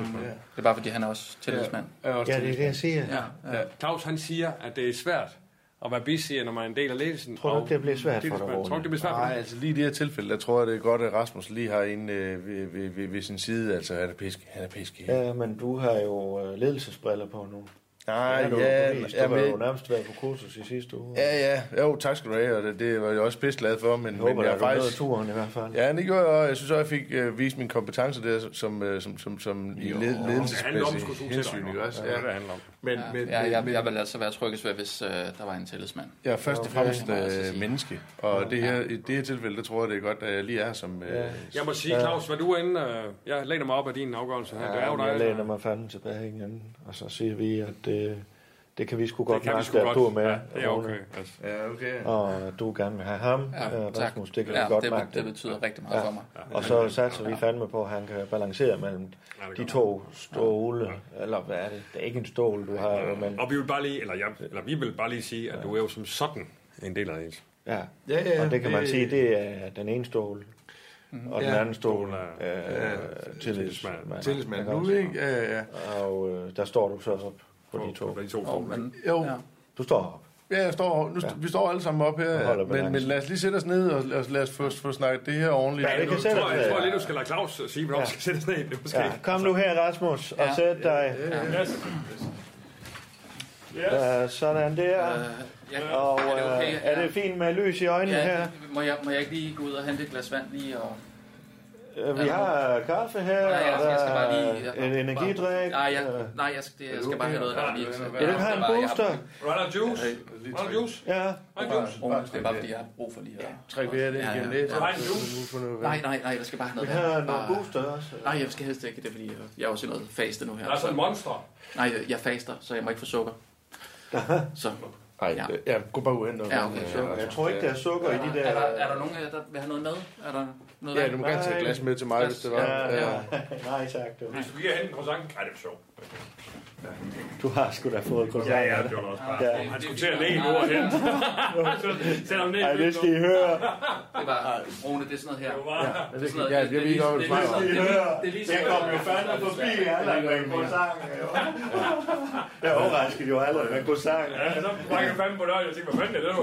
[SPEAKER 10] er bare fordi, han er også tillidsmand.
[SPEAKER 9] er også
[SPEAKER 2] Ja, det er det, jeg siger.
[SPEAKER 10] Ja. ja.
[SPEAKER 7] Claus, han siger, at det er svært at være busy, når man er en del af ledelsen.
[SPEAKER 2] Tror du
[SPEAKER 7] og
[SPEAKER 2] ikke, det bliver svært for dig,
[SPEAKER 7] tillidsmand.
[SPEAKER 2] Rune?
[SPEAKER 7] Tror du, det bliver svært for
[SPEAKER 9] Nej,
[SPEAKER 7] dig?
[SPEAKER 9] altså lige i det her tilfælde, der tror jeg, det er godt, at Rasmus lige har en øh, ved, ved, ved, ved, sin side. Altså, han er piske. Han er piske.
[SPEAKER 2] Ja, men du har jo øh, ledelsesbriller på nu.
[SPEAKER 9] Nej,
[SPEAKER 2] Ja, du,
[SPEAKER 9] ja,
[SPEAKER 2] du, ved, du
[SPEAKER 9] ja,
[SPEAKER 2] har jo
[SPEAKER 9] men,
[SPEAKER 2] nærmest været på kursus i sidste uge.
[SPEAKER 9] ja, ja, jo, tak skal du have, og det, det var jeg også pisse glad for, men,
[SPEAKER 2] Jeg håber,
[SPEAKER 9] men
[SPEAKER 2] der
[SPEAKER 9] jeg
[SPEAKER 2] er
[SPEAKER 9] er
[SPEAKER 2] faktisk...
[SPEAKER 9] faktisk...
[SPEAKER 2] turen i hvert fald.
[SPEAKER 9] Ja, det gjorde jeg, og jeg synes også, jeg fik øh, vist min kompetence der, som, øh, som, som, som i led,
[SPEAKER 8] Det handler om, at skulle
[SPEAKER 9] ledelsesmæssig
[SPEAKER 8] du til
[SPEAKER 9] hensyn,
[SPEAKER 8] dig.
[SPEAKER 9] ikke
[SPEAKER 8] jo.
[SPEAKER 9] også?
[SPEAKER 8] Ja, det er det, det
[SPEAKER 9] Ja,
[SPEAKER 8] handler om.
[SPEAKER 9] men,
[SPEAKER 10] Ja,
[SPEAKER 9] men,
[SPEAKER 10] ja, jeg,
[SPEAKER 9] men-
[SPEAKER 10] jeg ville altså være tryggest ved, hvis øh, der var en tillidsmand.
[SPEAKER 9] Jeg er først og fremmest
[SPEAKER 10] Det må jeg altså
[SPEAKER 9] øh,
[SPEAKER 10] sige.
[SPEAKER 9] menneske, og det her, i det her tilfælde, der tror jeg, det er godt, at jeg lige er her som... Øh,
[SPEAKER 8] Jeg må sige, Claus, hvad du er inde... øh, Jeg læner mig op af din afgørelse her. Det er jo
[SPEAKER 2] jeg
[SPEAKER 8] dig.
[SPEAKER 2] læner
[SPEAKER 8] der-
[SPEAKER 2] mig fanden tilbage igen, og så siger vi, at det, det kan vi sgu godt
[SPEAKER 8] Det kan vi
[SPEAKER 2] mærke,
[SPEAKER 8] sgu
[SPEAKER 2] at du er med.
[SPEAKER 8] godt. Ja, det er
[SPEAKER 2] Rune.
[SPEAKER 8] okay. Altså.
[SPEAKER 9] Ja, okay.
[SPEAKER 2] Og at du gerne vil have ham, ja, øh, Rasmus, det kan
[SPEAKER 10] ja,
[SPEAKER 2] vi godt
[SPEAKER 10] det,
[SPEAKER 2] mærke.
[SPEAKER 10] det betyder rigtig meget ja. for mig.
[SPEAKER 2] Og så satser vi fandme på, at han kan balancere mellem de to stole, eller hvad er det? Det er ikke en stol, du har, jo, men
[SPEAKER 8] Og vi vil bare lige, eller, jeg, eller vi vil bare lige sige, at du er jo som sådan en del af ens.
[SPEAKER 2] ja.
[SPEAKER 9] Ja, ja,
[SPEAKER 2] Og det kan man
[SPEAKER 9] det-
[SPEAKER 2] sige, det er den ene stol,
[SPEAKER 10] Mhm.
[SPEAKER 2] og den
[SPEAKER 9] Ja.
[SPEAKER 2] anden stol
[SPEAKER 8] Stol
[SPEAKER 2] er tillidsmand.
[SPEAKER 8] tillidsmand.
[SPEAKER 9] Tillidsmand nu, ikke? Ja, ja.
[SPEAKER 2] Og øh, der står du så op på de to.
[SPEAKER 8] De to
[SPEAKER 10] Og,
[SPEAKER 8] oh,
[SPEAKER 10] men,
[SPEAKER 9] Jo,
[SPEAKER 10] ja.
[SPEAKER 2] Du står op.
[SPEAKER 9] ja, jeg står, nu, ja. vi står alle sammen op
[SPEAKER 2] Og
[SPEAKER 9] her,
[SPEAKER 2] holder
[SPEAKER 9] men, men
[SPEAKER 2] balancen.
[SPEAKER 9] lad os lige sætte os ned, og lad os, lad os få, få snakket det her ordentligt.
[SPEAKER 2] Ja, det kan
[SPEAKER 8] Jeg
[SPEAKER 2] sætte
[SPEAKER 8] tror,
[SPEAKER 2] os
[SPEAKER 8] jeg
[SPEAKER 2] ned.
[SPEAKER 8] tror lige, du skal lade Claus sige, hvornår ja. skal sætte os ned. Det er måske
[SPEAKER 2] Ja,
[SPEAKER 8] ikke.
[SPEAKER 2] kom nu her, Rasmus, og
[SPEAKER 10] Ja.
[SPEAKER 2] sæt dig. Øh, sådan der.
[SPEAKER 10] ja,
[SPEAKER 2] Og
[SPEAKER 10] er det okay?
[SPEAKER 2] øh, er det fint med lys i øjnene her?
[SPEAKER 10] ja, må, jeg, må jeg ikke lige gå ud og hente et glas vand lige? Og...
[SPEAKER 2] Øh, Vi har øh, kaffe her,
[SPEAKER 10] Nej, jeg,
[SPEAKER 2] og
[SPEAKER 10] jeg skal
[SPEAKER 2] der
[SPEAKER 10] bare lige...
[SPEAKER 2] er en energidrik.
[SPEAKER 10] Nej, jeg,
[SPEAKER 2] Øh,
[SPEAKER 10] nej, jeg, skal, det, jeg skal bare have noget, der er lige...
[SPEAKER 2] Vil du ikke have en booster?
[SPEAKER 8] Runner juice. Runner juice.
[SPEAKER 2] Ja.
[SPEAKER 8] Runner juice.
[SPEAKER 10] Det er bare, fordi jeg har brug for lige at...
[SPEAKER 9] Træk vejret ind
[SPEAKER 10] Ja, ja.
[SPEAKER 9] igen lidt.
[SPEAKER 10] Ja.
[SPEAKER 8] Har en juice.
[SPEAKER 10] Nej, nej, nej, jeg skal bare have noget
[SPEAKER 2] Vi har
[SPEAKER 10] vand.
[SPEAKER 2] nogle
[SPEAKER 10] Bare-
[SPEAKER 2] booster også.
[SPEAKER 10] Nej, jeg skal helst ikke det, fordi jeg- jeg er også i noget faste nu her.
[SPEAKER 8] Der er så en monster.
[SPEAKER 10] Nej, jeg- jeg faster, så jeg må ikke få sukker. Så,
[SPEAKER 9] Nej,
[SPEAKER 10] Ja.
[SPEAKER 9] ja, gå bare ud og hente noget.
[SPEAKER 10] ja, okay. Så.
[SPEAKER 2] Jeg tror ikke, der er sukker i de der...
[SPEAKER 10] Er der, er der nogen af jer, der vil have noget med? Er der noget
[SPEAKER 9] Ja,
[SPEAKER 10] vand?
[SPEAKER 9] du må gerne tage et glas med til mig, hvis det var.
[SPEAKER 2] Ja,
[SPEAKER 9] Ja.
[SPEAKER 2] ja. <laughs> Nej, tak. Du,
[SPEAKER 8] Hvis du giver hende en croissant, ej, det er sjovt.
[SPEAKER 2] du har sgu da fået
[SPEAKER 8] Ja,
[SPEAKER 2] croissant.
[SPEAKER 8] ja, det var da også bare.
[SPEAKER 2] Ja.
[SPEAKER 8] Han skulle til at læge nu og
[SPEAKER 2] <laughs>
[SPEAKER 8] hen. Så Sæt ham ned.
[SPEAKER 2] Ej, det skal I høre.
[SPEAKER 10] Det var Rune, det er sådan noget her.
[SPEAKER 8] bare...
[SPEAKER 10] Det er sådan noget,
[SPEAKER 9] Ja, det
[SPEAKER 10] det
[SPEAKER 9] ved
[SPEAKER 10] er
[SPEAKER 9] jeg
[SPEAKER 10] lige-
[SPEAKER 9] godt,
[SPEAKER 10] det er
[SPEAKER 9] hvad du
[SPEAKER 10] lige sådan-
[SPEAKER 2] I
[SPEAKER 10] det er lige-
[SPEAKER 2] hører.
[SPEAKER 10] det er lige
[SPEAKER 2] Jeg
[SPEAKER 10] sådan-
[SPEAKER 2] kom jo fandme forbi Allan med en croissant. jo. Jeg overraskede jo Allan med en croissant.
[SPEAKER 8] Ja, så brækker jeg fandme på døren, jeg tænker, hvad fanden er det,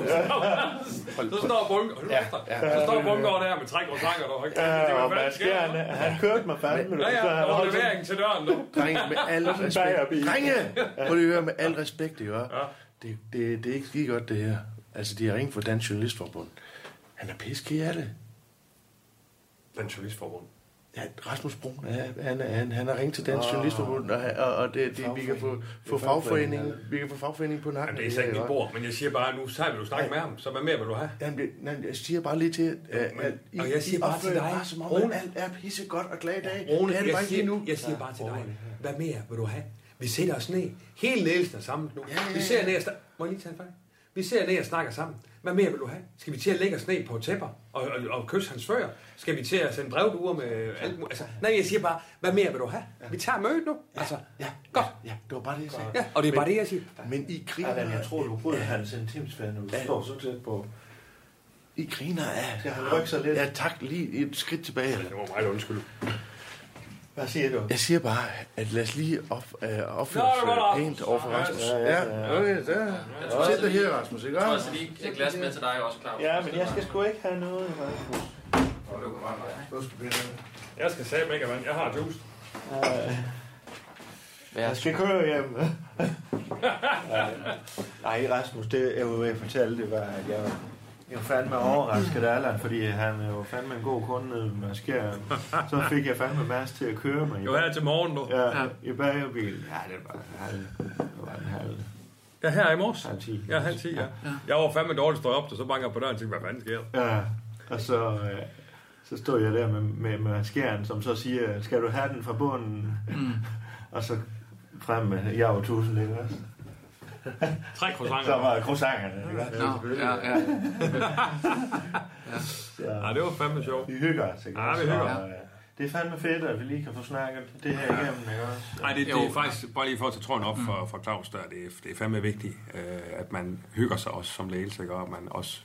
[SPEAKER 8] du? Så står bunker, og så står bunker der med tre croissanter, der ikke? Jeg tænker,
[SPEAKER 2] Ja, og
[SPEAKER 8] hvad fanden
[SPEAKER 2] Mads
[SPEAKER 8] sker der?
[SPEAKER 2] Kjern, han kørte mig fandme.
[SPEAKER 8] Ja, ja, der var levering til døren nu.
[SPEAKER 9] Drenge, med al
[SPEAKER 2] bagerbil.
[SPEAKER 9] respekt. Drenge, prøv lige at høre, med al respekt, det gør. Det, det, det er ikke lige godt, det her. Altså, de har ringet for Dansk Journalistforbund. Han er piske af det.
[SPEAKER 8] Den journalistforbund.
[SPEAKER 9] Ja, Rasmus Brun, ja, han, han, han har ringet til Dansk Journalistforbund, og, og, og det, det, vi kan få, få
[SPEAKER 2] Det er fagforeningen,
[SPEAKER 9] fagforeningen, vi kan få fagforeningen på nakken.
[SPEAKER 8] Jamen, det er slet ikke
[SPEAKER 9] her,
[SPEAKER 8] mit
[SPEAKER 9] ikke?
[SPEAKER 8] bord, men jeg siger bare, nu så vil du snakke med ham, så hvad mere vil du have?
[SPEAKER 9] Jamen, det- nej, jeg siger bare lige til, at,
[SPEAKER 8] men-
[SPEAKER 9] at I,
[SPEAKER 8] og jeg siger
[SPEAKER 9] I
[SPEAKER 8] bare til
[SPEAKER 9] opfører
[SPEAKER 8] dig,
[SPEAKER 9] jer bare som om,
[SPEAKER 8] Rune-
[SPEAKER 9] at alt er pisse godt og glad i dag. det er det bare ikke lige nu.
[SPEAKER 8] jeg siger bare til dig, hvad mere vil du have? Vi sætter os ned. Hele ledelsen er sammen nu. Vi ser ned og snak- Må jeg lige tage en fejl? Vi ser ned og snakker sammen. Hvad mere vil du have? Skal vi til at lægge os ned på tæpper og, og, og kysse hans fører? Skal vi til at sende brevduer med alt muligt? Altså, nej, jeg siger bare, hvad mere vil du have? Vi tager mødet nu. Altså,
[SPEAKER 9] Ja,
[SPEAKER 8] godt.
[SPEAKER 9] Ja, det var bare det, jeg sagde.
[SPEAKER 8] Ja, og det er bare det, jeg siger.
[SPEAKER 9] Men I griner,
[SPEAKER 2] Allan, jeg tror, du bryder hans intimsfærd, når du står så tæt på.
[SPEAKER 9] I griner af.
[SPEAKER 2] Skal han rykke sig lidt?
[SPEAKER 9] Ja, tak. Lige et skridt tilbage.
[SPEAKER 8] Det var meget undskyld.
[SPEAKER 2] Hvad siger du?
[SPEAKER 9] Jeg siger bare, at lad os lige op, øh, opføre
[SPEAKER 8] Nå, det var der.
[SPEAKER 9] os øh, pænt over for Rasmus.
[SPEAKER 8] Ja,
[SPEAKER 9] Ja, okay, der. Sæt dig her, Rasmus, ikke?
[SPEAKER 10] Jeg tror også lige et glas med til dig også, Claus.
[SPEAKER 2] Ja, men jeg skal sgu ikke have noget. Rasmus.
[SPEAKER 8] Jeg skal sige mega, mand. Jeg har juice.
[SPEAKER 2] Jeg skal køre
[SPEAKER 8] <laughs>
[SPEAKER 2] hjem. Nej, Rasmus, det jeg, jo- jeg fortalte, det var, at jeg, jeg var fandme overrasket af Allan, fordi han er jo fandme en god kunde nede med skæren. Så fik jeg fandme masse til at køre mig i,
[SPEAKER 8] Jo, her til morgen nu.
[SPEAKER 2] ja, i bagerbil. Ja, det var en halv. Det var en halv.
[SPEAKER 8] Ja, her i morges.
[SPEAKER 2] Halv ti.
[SPEAKER 8] Ja, halv ti, ja. Jeg var fandme dårligt stået op, og så banker jeg på døren og tænkte, hvad fanden sker der?
[SPEAKER 2] Ja, og så, øh, så stod jeg der med, med, med skæren, som så siger, skal du have den fra bunden? Mm. og så frem med, jeg er jo tusind, ikke også?
[SPEAKER 8] Tre
[SPEAKER 2] Så
[SPEAKER 8] croissanter.
[SPEAKER 2] var croissanterne, ikke også?
[SPEAKER 10] Nå, ja, ja.
[SPEAKER 8] Ja, det var fandme sjovt.
[SPEAKER 2] Vi hygger os, ikke
[SPEAKER 8] Ja, vi
[SPEAKER 2] også?
[SPEAKER 8] hygger
[SPEAKER 2] Og, øh, Det er fandme fedt, at vi lige kan få snakket det her igennem, ikke også?
[SPEAKER 8] Nej, det, det
[SPEAKER 10] Jo.
[SPEAKER 8] er faktisk, bare lige for at tage trøjen op for, for Claus, der, det, er, det er fandme vigtigt, øh, at man hygger sig også som ledelse, ikke? og at man også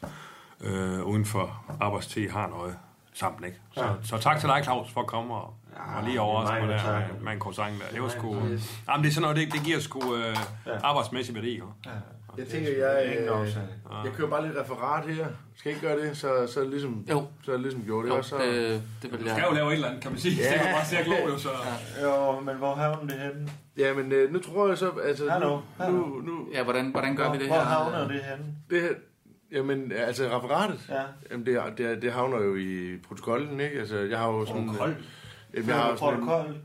[SPEAKER 8] øh, uden for arbejdstid har noget sammen. Ikke? Så,
[SPEAKER 2] Ja.
[SPEAKER 8] ja. så tak til dig, Claus, for at komme og,
[SPEAKER 2] Ja,
[SPEAKER 8] og
[SPEAKER 2] det er
[SPEAKER 8] lige overraske mig
[SPEAKER 2] mig, der
[SPEAKER 8] der
[SPEAKER 2] takker.
[SPEAKER 8] med, med en croissant der. Det var sgu... Jamen, det er sådan noget, det, det giver sgu øh, arbejdsmæssig værdi. Jo.
[SPEAKER 2] Ja.
[SPEAKER 9] Jeg tænker, jeg, øh, jeg kører bare lidt referat her. Skal jeg ikke gøre det? Så, så er det ligesom,
[SPEAKER 10] Jo.
[SPEAKER 9] så er det ligesom gjort.
[SPEAKER 10] Jo,
[SPEAKER 9] Jo, så,
[SPEAKER 10] det, det vil
[SPEAKER 8] Du skal jo
[SPEAKER 10] jeg.
[SPEAKER 8] lave et eller andet, kan man sige. Ja. Det er jo bare cirkelov, jo, så... Ja.
[SPEAKER 2] Jo, men hvor havner det henne?
[SPEAKER 9] ja, men øh, nu tror jeg så... Altså,
[SPEAKER 2] Hallo,
[SPEAKER 9] Nu,
[SPEAKER 2] hallo.
[SPEAKER 9] nu, nu,
[SPEAKER 10] Ja, hvordan, hvordan gør vi det
[SPEAKER 2] Hvor
[SPEAKER 10] her?
[SPEAKER 2] havner det henne?
[SPEAKER 9] det her, jamen, altså referatet,
[SPEAKER 2] Ja.
[SPEAKER 9] jamen, det, er- det, er- det havner jo i protokollen, ikke? Altså, jeg har jo sådan...
[SPEAKER 8] Protokol?
[SPEAKER 9] Jamen, jeg har jo
[SPEAKER 2] Hvad
[SPEAKER 9] sådan en,
[SPEAKER 2] protokol?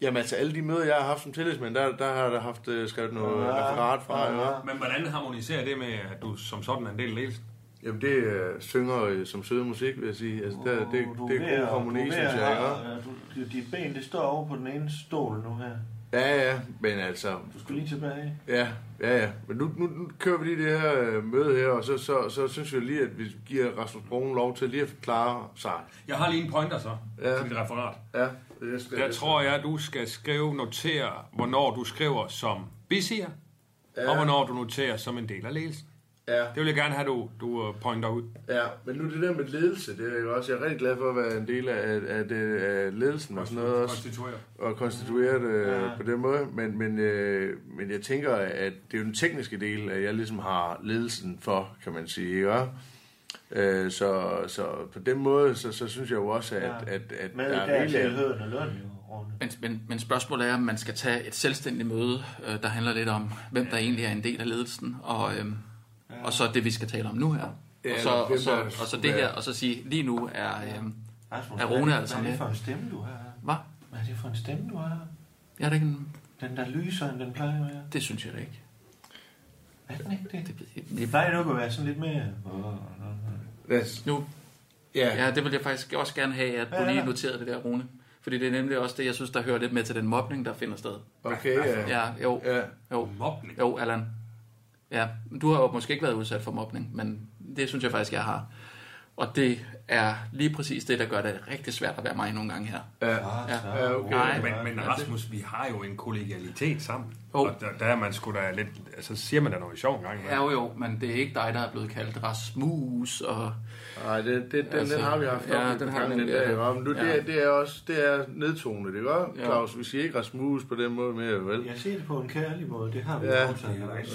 [SPEAKER 9] jamen, altså, alle de møder, jeg har haft som tillidsmand, der, der har jeg haft øh, skrevet noget
[SPEAKER 2] Ja.
[SPEAKER 9] referat fra, ja.
[SPEAKER 2] Ja.
[SPEAKER 8] Men hvordan harmoniserer det med, at du som sådan er en del af ledelsen?
[SPEAKER 9] Jamen, det øh, synger øh, som sød musik, vil jeg sige. Altså, der, det, det,
[SPEAKER 2] Du
[SPEAKER 9] det er
[SPEAKER 2] ved
[SPEAKER 9] god
[SPEAKER 2] at- du
[SPEAKER 9] harmoni,
[SPEAKER 2] ved
[SPEAKER 9] synes
[SPEAKER 2] at
[SPEAKER 9] jeg, ikke?
[SPEAKER 2] have- du- Dit ben, det står over på den ene stol nu her.
[SPEAKER 9] Ja, ja, men altså,
[SPEAKER 2] Du skal lige tilbage.
[SPEAKER 9] ja, ja, ja. Men nu, nu, nu kører vi lige det her øh, møde her, og så, så, så synes jeg lige, at vi giver Rasmus Broen lov til lige at forklare sig.
[SPEAKER 8] Jeg har lige en pointer så,
[SPEAKER 9] Ja.
[SPEAKER 8] ja. til dit referat.
[SPEAKER 9] Ja, det skal
[SPEAKER 8] Der tror jeg, du skal skrive, notere, hvornår du skriver som bisier, ja. og hvornår du noterer som en del af ledelsen.
[SPEAKER 9] Ja,
[SPEAKER 8] Det vil jeg gerne have, du, du øh, pointer ud.
[SPEAKER 9] ja, men nu det der med ledelse, det er jeg også, jeg er rigtig glad for at være en del af, af, af, det, af ledelsen og sådan noget også.
[SPEAKER 8] Konstituere.
[SPEAKER 9] og konstitueret øh, ja. på den måde. Men, men, øh, men jeg tænker, at det er jo den tekniske del, at jeg ligesom har ledelsen for, kan man sige. Ikke? også? Øh, så, så på den måde, så, så synes jeg jo også, at, ja. at, at
[SPEAKER 2] Med
[SPEAKER 9] der
[SPEAKER 2] der
[SPEAKER 9] er
[SPEAKER 2] til
[SPEAKER 9] rigeligt.
[SPEAKER 2] høden og løn, jo, Rune.
[SPEAKER 10] Men, men, men spørgsmålet er, om man skal tage et selvstændigt møde, øh, der handler lidt om, hvem der egentlig er en del af ledelsen, og, øhm, og så det, vi skal tale om nu her.
[SPEAKER 9] Ja,
[SPEAKER 10] Og så,
[SPEAKER 9] eller hvem
[SPEAKER 10] og, så,
[SPEAKER 9] der
[SPEAKER 10] og så
[SPEAKER 9] skulle
[SPEAKER 10] det her,
[SPEAKER 9] være-
[SPEAKER 10] og så sige, lige nu er... Øhm,
[SPEAKER 2] Rasmus,
[SPEAKER 10] Er
[SPEAKER 2] hvad
[SPEAKER 10] Rune
[SPEAKER 2] det-
[SPEAKER 10] altså
[SPEAKER 2] Hvad er
[SPEAKER 10] med?
[SPEAKER 2] det for en stemme, du har?
[SPEAKER 10] hvad?
[SPEAKER 2] Hvad er det for en stemme, du har?
[SPEAKER 10] Jeg er der ikke en,
[SPEAKER 2] Den der lyser, end den plejer at være.
[SPEAKER 10] det synes jeg da ikke.
[SPEAKER 2] Er den ikke det?
[SPEAKER 10] Det, det,
[SPEAKER 2] Det plejer nok at være sådan lidt mere... Åh, nå, nå.
[SPEAKER 9] Yes.
[SPEAKER 10] nu,
[SPEAKER 9] Ja, ja.
[SPEAKER 10] ja, det vil jeg faktisk også gerne have, at du lige noterede det der, Rune. Fordi det er nemlig også det, jeg synes, der hører lidt med til den mobning, der finder sted.
[SPEAKER 9] okay. Ja.
[SPEAKER 10] Ja, jo,
[SPEAKER 9] Ja.
[SPEAKER 10] jo,
[SPEAKER 8] Mobning.
[SPEAKER 10] jo, Allan. Ja, du har jo måske ikke været udsat for mobning, men det synes jeg faktisk, jeg har. Og det er lige præcis det, der gør det rigtig svært at være mig nogle gange her.
[SPEAKER 9] ja, okay.
[SPEAKER 10] Nej,
[SPEAKER 8] Ah, Men, men Rasmus, vi har jo en kollegialitet sammen.
[SPEAKER 10] Jo.
[SPEAKER 8] Og der, der er man sgu da lidt... Altså, siger man da noget sjovt en gang.
[SPEAKER 10] ja, jo, jo, men det er ikke dig, der er blevet kaldt Rasmus og...
[SPEAKER 9] Ej, det, det, den, altså,
[SPEAKER 10] Altså,
[SPEAKER 9] den har vi haft
[SPEAKER 10] ja,
[SPEAKER 9] op et
[SPEAKER 10] den
[SPEAKER 9] par
[SPEAKER 10] har vi
[SPEAKER 9] gange, den
[SPEAKER 10] nemlig,
[SPEAKER 9] der,
[SPEAKER 10] ja.
[SPEAKER 9] ikke? Men nu, det,
[SPEAKER 10] Ja.
[SPEAKER 9] er- det er også det er nedtonet, ikke?
[SPEAKER 10] Ja.
[SPEAKER 9] Claus, vi siger ikke Rasmus på den måde mere, vel?
[SPEAKER 2] Jeg ser det på en kærlig måde, det har vi
[SPEAKER 9] Ja.
[SPEAKER 2] ja. også.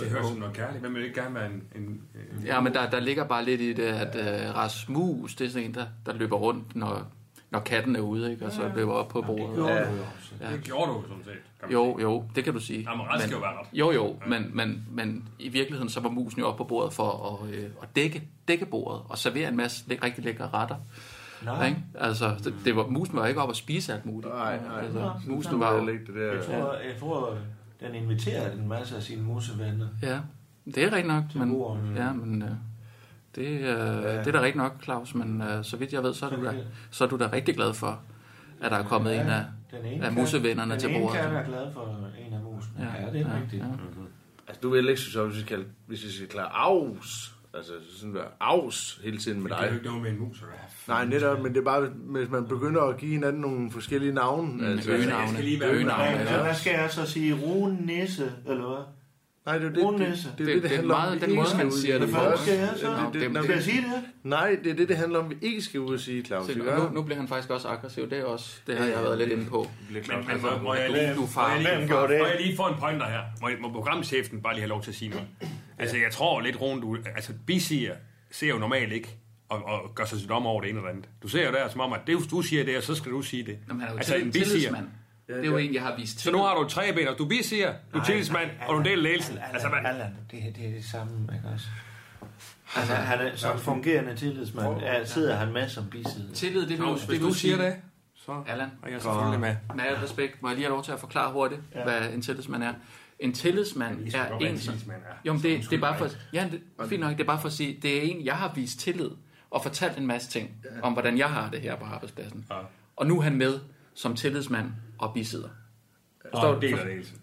[SPEAKER 8] Det hører som noget kærligt. Hvem vil ikke gerne være en... en, en
[SPEAKER 10] Ja, men der, der ligger bare lidt i det, at øh, Rasmus, det er sådan en, der, der løber rundt, når, når katten er ude, ikke? og så løber op på bordet.
[SPEAKER 2] Ja.
[SPEAKER 8] Det gjorde du jo sådan set. kan man
[SPEAKER 10] Jo,
[SPEAKER 8] sige.
[SPEAKER 10] jo, det kan du sige.
[SPEAKER 8] Jamen, ret skal jo være ret.
[SPEAKER 10] Jo, jo, men, men, men i virkeligheden så var musen jo oppe på bordet for at, øh, at dække, dække bordet og servere en masse læ- rigtig lækre retter.
[SPEAKER 2] Nej.
[SPEAKER 10] Ikke? Altså, det, det var, musen var jo ikke oppe at spise alt muligt.
[SPEAKER 9] Nej, nej.
[SPEAKER 10] Altså, musen
[SPEAKER 9] Nu
[SPEAKER 10] var
[SPEAKER 9] var
[SPEAKER 10] jo,
[SPEAKER 9] jeg lægge det der.
[SPEAKER 2] Jeg tror, jeg tror, den inviterer en masse af sine musevenner.
[SPEAKER 10] Ja, det er rigtigt nok. Men,
[SPEAKER 2] bordet.
[SPEAKER 10] ja, men øh, det, øh, det er da rigtigt nok, Claus, men øh, så vidt jeg ved, så er, du da, så er du da rigtig glad for, at der er kommet ja, en af,
[SPEAKER 2] Den ene
[SPEAKER 10] af
[SPEAKER 2] kat-
[SPEAKER 10] musevennerne til bordet.
[SPEAKER 2] Den ene kat er glad for en af musene. Ja, ja det er rigtigt. Ja.
[SPEAKER 9] Altså, du vil ikke synes, hvis vi skal, hvis vi skal klare aus. Altså, sådan der aus hele tiden med
[SPEAKER 8] Det er jo
[SPEAKER 9] dig.
[SPEAKER 8] ikke noget med en mus, eller hvad?
[SPEAKER 9] Nej, netop, men det er bare, hvis man begynder at give hinanden nogle forskellige navne. Mm, altså,
[SPEAKER 8] øgenavn.
[SPEAKER 10] Øgenavne.
[SPEAKER 8] skal lige være
[SPEAKER 10] Øgenavne.
[SPEAKER 2] Men, så
[SPEAKER 10] Ja.
[SPEAKER 2] hvad skal jeg så sige? Rune Nisse, eller hvad?
[SPEAKER 9] Nej, det er jo det, det, det, det, det,
[SPEAKER 10] Det- det
[SPEAKER 9] det
[SPEAKER 10] er
[SPEAKER 9] handler om.
[SPEAKER 10] meget
[SPEAKER 9] vi
[SPEAKER 10] den måde,
[SPEAKER 9] ikke skal
[SPEAKER 10] man
[SPEAKER 9] ud i.
[SPEAKER 10] siger det
[SPEAKER 9] Det
[SPEAKER 10] på.
[SPEAKER 9] er
[SPEAKER 2] Hvad
[SPEAKER 9] også-
[SPEAKER 2] skal jeg så?
[SPEAKER 10] Nå,
[SPEAKER 9] det- det-
[SPEAKER 10] dem-
[SPEAKER 9] når
[SPEAKER 2] Skal jeg sige det?
[SPEAKER 9] Nej, det er det, det handler om, vi ikke skal ud og sige, Claus.
[SPEAKER 10] Se,
[SPEAKER 9] ikke?
[SPEAKER 10] nu, nu bliver han faktisk også aggressiv. Det er også det, har jeg været lidt inde på.
[SPEAKER 8] Men, men må, må, jeg
[SPEAKER 10] Du-
[SPEAKER 8] lige,
[SPEAKER 10] du er far.
[SPEAKER 8] må, jeg
[SPEAKER 2] Hvem
[SPEAKER 8] lige,
[SPEAKER 2] gjorde det?
[SPEAKER 8] må jeg lige få en pointer her? Må, må programchefen bare lige have lov til at sige noget? Altså, jeg tror lidt, Rune, du... Altså, bisier ser jo normalt ikke og, og gør sig sit om over det ene eller andet. Du ser jo der som om, at det, du siger det, og så skal du sige det.
[SPEAKER 10] Jamen, han er jo
[SPEAKER 8] altså,
[SPEAKER 10] altså,
[SPEAKER 8] en bisier.
[SPEAKER 10] tillidsmand. Det er jo en, jeg har vist til.
[SPEAKER 8] Så nu har du tre ben, og du er bisier, du er tillidsmand, og du er en del af ledelsen.
[SPEAKER 2] Allan,
[SPEAKER 8] Altså, man,
[SPEAKER 2] Allan, det, det er det samme, ikke også? Altså, han er, som fungerende tillidsmand er, sidder han med som biside.
[SPEAKER 10] Tillid, det vil,
[SPEAKER 8] Claus,
[SPEAKER 10] det
[SPEAKER 8] hvis
[SPEAKER 10] vil
[SPEAKER 8] du siger
[SPEAKER 10] sige-
[SPEAKER 8] det, så
[SPEAKER 10] Allan,
[SPEAKER 8] er jeg selvfølgelig med.
[SPEAKER 10] med al respekt, må jeg lige have lov til at forklare hurtigt, ja. hvad en tillidsmand er. En tillidsmand
[SPEAKER 8] vidste
[SPEAKER 10] er
[SPEAKER 8] godt, hvad
[SPEAKER 10] en...
[SPEAKER 8] en
[SPEAKER 10] som-
[SPEAKER 8] tillidsmand er.
[SPEAKER 10] Jo, men
[SPEAKER 8] Så
[SPEAKER 10] det, det
[SPEAKER 8] undskyld
[SPEAKER 10] er bare
[SPEAKER 8] mig.
[SPEAKER 10] for, ja, det, fint nok, det er bare for at sige, det er en, jeg har vist tillid og fortalt en masse ting om, hvordan jeg har det her på arbejdspladsen. Ja. Og nu er han med som tillidsmand og bisidder.
[SPEAKER 8] Og en del af ledelsen.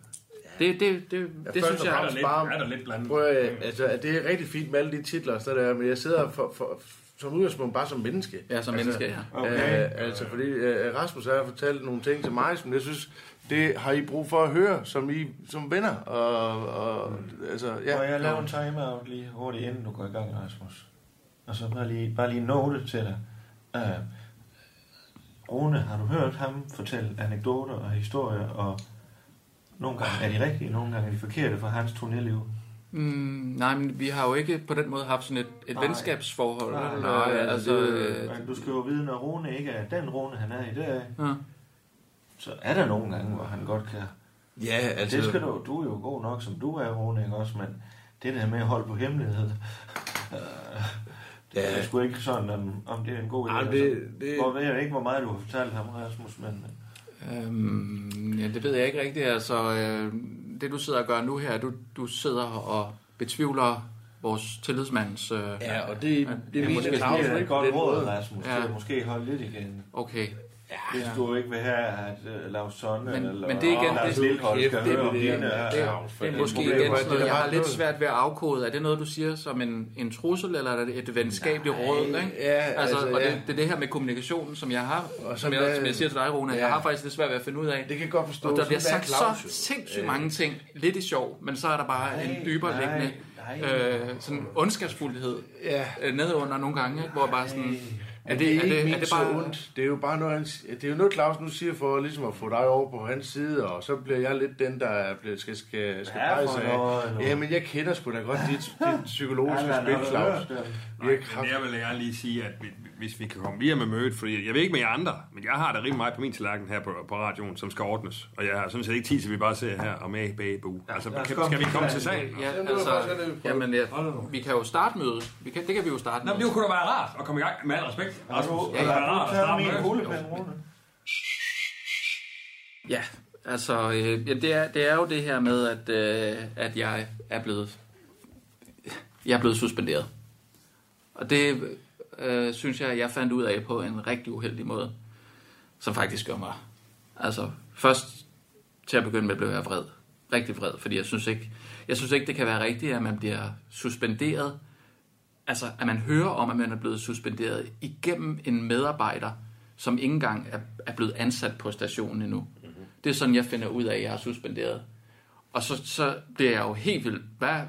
[SPEAKER 10] Det, det, det, det, det
[SPEAKER 9] først
[SPEAKER 10] synes
[SPEAKER 9] og
[SPEAKER 10] jeg...
[SPEAKER 8] Er der lidt,
[SPEAKER 9] Bare-
[SPEAKER 8] er der lidt blandet?
[SPEAKER 9] Prøv at, altså, at det er rigtig fint med alle de titler og sådan der, men jeg sidder for, for, som udgangspunkt bare som menneske.
[SPEAKER 10] Ja, som menneske, ja.
[SPEAKER 9] Okay. Øh, altså, fordi øh, Rasmus har fortalt nogle ting til mig, som jeg synes, det har I brug for at høre, som I som venner. Og, og, altså, ja.
[SPEAKER 2] Må jeg lave en timeout lige hurtigt, inden du går i gang, Rasmus? Og så bare lige, bare lige note til dig. Uh, Rune, har du hørt ham fortælle anekdoter og historier, og nogle gange er de rigtige, nogle gange er de forkerte fra hans turnéliv?
[SPEAKER 10] Mm, nej, men vi har jo ikke på den måde haft sådan et, et
[SPEAKER 2] Nej.
[SPEAKER 10] venskabsforhold.
[SPEAKER 2] Nej,
[SPEAKER 10] vel?
[SPEAKER 2] nej,
[SPEAKER 10] Øh, altså, øh,
[SPEAKER 2] men du skal jo vide, når Rune ikke er den Rune, han er i dag,
[SPEAKER 10] Ja.
[SPEAKER 2] så er der nogle gange, hvor han godt kan...
[SPEAKER 9] Ja, altså-
[SPEAKER 2] Det skal du, du er jo god nok, som du er, Rune, ikke også? Men det der med at holde på hemmelighed... Øh, det
[SPEAKER 9] Ja.
[SPEAKER 2] er sgu ikke sådan, om, om det er en god idé.
[SPEAKER 9] Ej,
[SPEAKER 2] altså.
[SPEAKER 9] det- det-
[SPEAKER 2] Hvor ved jeg ikke, hvor meget du har fortalt ham, Rasmus, men...
[SPEAKER 10] Øhm, ja, det ved jeg ikke rigtigt. Altså, øh, det du sidder og gør nu her, du, du sidder og betvivler vores tillidsmands... Øh,
[SPEAKER 9] Ja, og det- det mener Claus
[SPEAKER 10] sådan-
[SPEAKER 9] ikke. Godt råd,
[SPEAKER 2] Rasmus, ja.
[SPEAKER 10] Ja.
[SPEAKER 2] til at måske holde lidt igen.
[SPEAKER 10] Okay.
[SPEAKER 2] Hvis
[SPEAKER 10] Ja.
[SPEAKER 2] du ikke vil have, at uh, Lars Sonne
[SPEAKER 10] Men,
[SPEAKER 2] eller
[SPEAKER 10] men det er igen,
[SPEAKER 2] Lars
[SPEAKER 10] det,
[SPEAKER 2] Lillehold skal høre om dine... øh,
[SPEAKER 10] det, det er
[SPEAKER 2] problemer.
[SPEAKER 10] måske igen
[SPEAKER 2] Problemer.
[SPEAKER 10] sådan noget, jeg har lidt svært ved at afkode. Er det noget, du siger som en, en trussel, eller er det et venskabeligt råd? Ikke?
[SPEAKER 9] ja,
[SPEAKER 10] altså,
[SPEAKER 9] altså,
[SPEAKER 10] og
[SPEAKER 9] ja.
[SPEAKER 10] det, det er det her med kommunikationen, som jeg har,
[SPEAKER 9] Og
[SPEAKER 10] og
[SPEAKER 9] så
[SPEAKER 10] som,
[SPEAKER 9] hvad-
[SPEAKER 10] jeg, som jeg siger til dig, Rune,
[SPEAKER 9] Ja.
[SPEAKER 10] jeg har faktisk lidt svært ved at finde ud af.
[SPEAKER 9] Det kan jeg godt forstå.
[SPEAKER 10] Og der
[SPEAKER 9] Sådan
[SPEAKER 10] bliver
[SPEAKER 9] er
[SPEAKER 10] sagt
[SPEAKER 9] Claus jo.
[SPEAKER 10] så sindssygt
[SPEAKER 9] Øh.
[SPEAKER 10] mange ting, lidt i sjov, men så er der bare
[SPEAKER 9] Nej,
[SPEAKER 10] en dybere
[SPEAKER 9] nej,
[SPEAKER 10] liggende
[SPEAKER 9] nej.
[SPEAKER 10] øh, sådan ondskabsfuldhed
[SPEAKER 9] Ja.
[SPEAKER 10] øh, nedenunder nogle gange, ikke? hvor bare sådan...
[SPEAKER 9] Er det, er det, er det, er det bare ondt? Det er jo bare noget, han, si- det er jo noget, Claus nu siger for ligesom at få dig over på hans side, og så bliver jeg lidt den, der er blevet, skal, skal, skal
[SPEAKER 2] Ja,
[SPEAKER 9] pege
[SPEAKER 2] for
[SPEAKER 9] sig
[SPEAKER 2] noget,
[SPEAKER 9] af.
[SPEAKER 2] noget.
[SPEAKER 9] Ja, men jeg kender sgu da godt dit,
[SPEAKER 2] <laughs>
[SPEAKER 9] dit psykologiske
[SPEAKER 2] Ja,
[SPEAKER 9] spil, Claus.
[SPEAKER 8] Nej, men jeg vil gerne lige sige, at vi- hvis vi kan komme videre med mødet, fordi jeg ved ikke med jer andre, men jeg har der rimelig meget på min tallerken her på, på radioen, som skal ordnes. Og jeg har sådan set ikke tid til, at vi bare sidder her og med bag bu. Altså,
[SPEAKER 10] lad os
[SPEAKER 8] kan,
[SPEAKER 10] komme
[SPEAKER 8] skal vi
[SPEAKER 10] til
[SPEAKER 8] komme til
[SPEAKER 10] sagen.
[SPEAKER 8] sagen?
[SPEAKER 10] Ja, altså, jamen, ja, vi kan jo starte mødet. Vi kan, det kan vi jo starte
[SPEAKER 8] Nå, men det kunne da være rart at komme i gang med al respekt. Rasmus, det
[SPEAKER 2] Ja,
[SPEAKER 8] kunne da være rart at
[SPEAKER 2] ja,
[SPEAKER 8] starte
[SPEAKER 2] min
[SPEAKER 8] med.
[SPEAKER 2] kuglepen, Rune.
[SPEAKER 10] Ja, altså, øh, ja, det, er, det er jo det her med, at, øh, at jeg er blevet jeg er blevet suspenderet. Og det øh, synes jeg, jeg fandt ud af på en rigtig uheldig måde, som faktisk gør mig... Altså, først til at begynde med blev jeg vred. Rigtig vred, fordi jeg synes ikke, jeg synes ikke det kan være rigtigt, at man bliver suspenderet. Altså, at man hører om, at man er blevet suspenderet igennem en medarbejder, som ikke engang er, er blevet ansat på stationen endnu. Mm-hmm. Det er sådan, jeg finder ud af, at jeg er suspenderet. Og så, så bliver jeg jo helt vildt, hvad,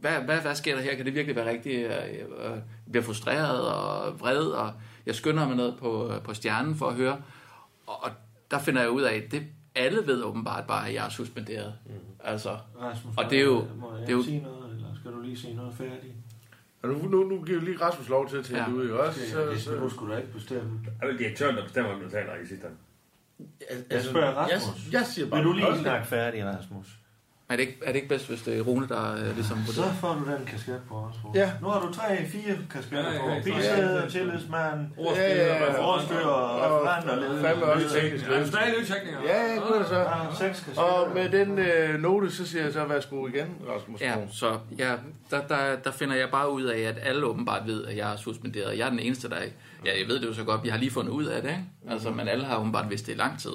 [SPEAKER 10] hvad, hvad, hvad sker der her? Kan det virkelig være rigtigt? Jeg, jeg, jeg bliver frustreret og vred, og jeg skynder mig ned på, på stjernen for at høre. Og, og der finder jeg ud af, at det, alle ved åbenbart bare, at jeg er suspenderet. Mm. Altså,
[SPEAKER 2] Rasmus,
[SPEAKER 10] og det er jo...
[SPEAKER 2] Må jeg
[SPEAKER 10] Det er jo
[SPEAKER 2] sige noget, eller skal du lige sige noget færdigt?
[SPEAKER 9] Og nu, nu, nu giver vi lige Rasmus lov til at tænke
[SPEAKER 10] Ja.
[SPEAKER 9] ja. ud, ikke også?
[SPEAKER 2] Så,
[SPEAKER 9] Så,
[SPEAKER 2] det
[SPEAKER 9] så,
[SPEAKER 2] skal du sgu da ikke bestemme.
[SPEAKER 8] Er det direktøren, der bestemmer, om du taler i sidste ende?
[SPEAKER 2] Jeg spørger Rasmus.
[SPEAKER 9] Jeg, jeg siger bare...
[SPEAKER 2] Vil du lige
[SPEAKER 9] Hold da.
[SPEAKER 2] snakke færdig, Rasmus?
[SPEAKER 10] er, det ikke, er det ikke bedst, hvis det er Rune, der øh, ligesom
[SPEAKER 9] Ah,
[SPEAKER 2] Så
[SPEAKER 10] vurderer?
[SPEAKER 2] får du den kasket på, Rasmus.
[SPEAKER 9] Ja.
[SPEAKER 2] Nu har du tre, fire kasketter
[SPEAKER 8] Ja, ja,
[SPEAKER 2] på.
[SPEAKER 8] ja, ja.
[SPEAKER 2] Bisæde, tillidsmand,
[SPEAKER 8] Ordstyrer,
[SPEAKER 9] Ja, ja, ja.
[SPEAKER 8] referent.
[SPEAKER 2] forstyrer, referent og leder.
[SPEAKER 9] Fandme også teknisk
[SPEAKER 8] Er du
[SPEAKER 9] ledelse.
[SPEAKER 8] stadig nytækninger?
[SPEAKER 9] Ja, ja, det så.
[SPEAKER 2] Ah, Seks kasketter.
[SPEAKER 9] Og med den øh, note, så siger jeg så, værsgo igen, Rasmus.
[SPEAKER 10] Ja, så ja, der, der, der finder jeg bare ud af, at alle åbenbart ved, at jeg er suspenderet. Jeg er den eneste, der ikke... Ja, jeg ved det jo så godt. Jeg har lige fundet ud af det, ikke? Altså, men alle har åbenbart vidst det i lang tid.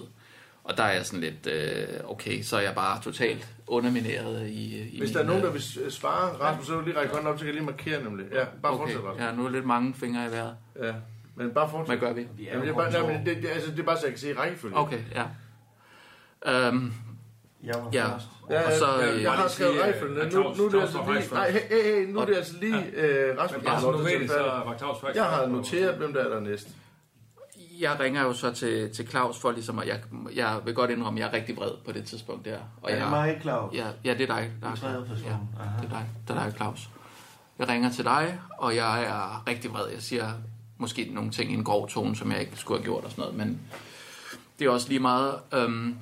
[SPEAKER 10] Og der er jeg sådan lidt, øh, okay, så er jeg bare totalt undermineret i,
[SPEAKER 9] Hvis
[SPEAKER 10] i min,
[SPEAKER 9] der er nogen,
[SPEAKER 10] øh,
[SPEAKER 9] der vil øh, svare, Rasmus, så vil du lige række hånden op, så kan jeg lige markere nemlig. Ja, bare
[SPEAKER 10] okay,
[SPEAKER 9] fortsæt, Rasmus.
[SPEAKER 10] ja, nu er lidt mange fingre i vejret.
[SPEAKER 9] Ja. Men bare fortsæt.
[SPEAKER 10] Hvad gør vi?
[SPEAKER 9] Jamen, det, er bare, nej, men det, det, altså, det er bare, så jeg kan se rækkefølgen.
[SPEAKER 10] Okay, ja. Øhm,
[SPEAKER 2] Jeg var
[SPEAKER 10] ja.
[SPEAKER 2] først.
[SPEAKER 9] Ja,
[SPEAKER 10] Og så,
[SPEAKER 9] jeg,
[SPEAKER 10] øh,
[SPEAKER 9] jeg har
[SPEAKER 8] lige
[SPEAKER 9] skrevet
[SPEAKER 8] sige,
[SPEAKER 9] rækkefølgen.
[SPEAKER 8] at
[SPEAKER 9] Nu, nu,
[SPEAKER 8] Claus-
[SPEAKER 9] er det
[SPEAKER 8] Claus
[SPEAKER 9] altså
[SPEAKER 8] var
[SPEAKER 9] lige,
[SPEAKER 8] faktisk
[SPEAKER 9] nej, hey, hey, hey, nu er det altså lige øh, Rasmus,
[SPEAKER 8] Men
[SPEAKER 9] der
[SPEAKER 8] bare
[SPEAKER 9] har
[SPEAKER 8] sådan,
[SPEAKER 9] lov
[SPEAKER 8] du
[SPEAKER 9] til at
[SPEAKER 8] ved det,
[SPEAKER 9] tale
[SPEAKER 8] så
[SPEAKER 9] færdigt.
[SPEAKER 8] var Claus faktisk.
[SPEAKER 9] Jeg har noteret, hvem der er dernæst.
[SPEAKER 10] jeg ringer jo så til, til Claus for ligesom, at jeg, jeg vil godt indrømme, at jeg er rigtig vred på det tidspunkt der. Og
[SPEAKER 2] Er det
[SPEAKER 10] jeg,
[SPEAKER 2] mig, Claus?
[SPEAKER 10] Ja, ja, det er dig, der er
[SPEAKER 2] tredje person.
[SPEAKER 10] Ja,
[SPEAKER 2] Aha.
[SPEAKER 10] det er dig, der er dig, Claus. Jeg ringer til dig, og jeg er rigtig vred. Jeg siger måske nogle ting i en grov tone, som jeg ikke skulle have gjort og sådan noget, men det er også lige meget. Øhm,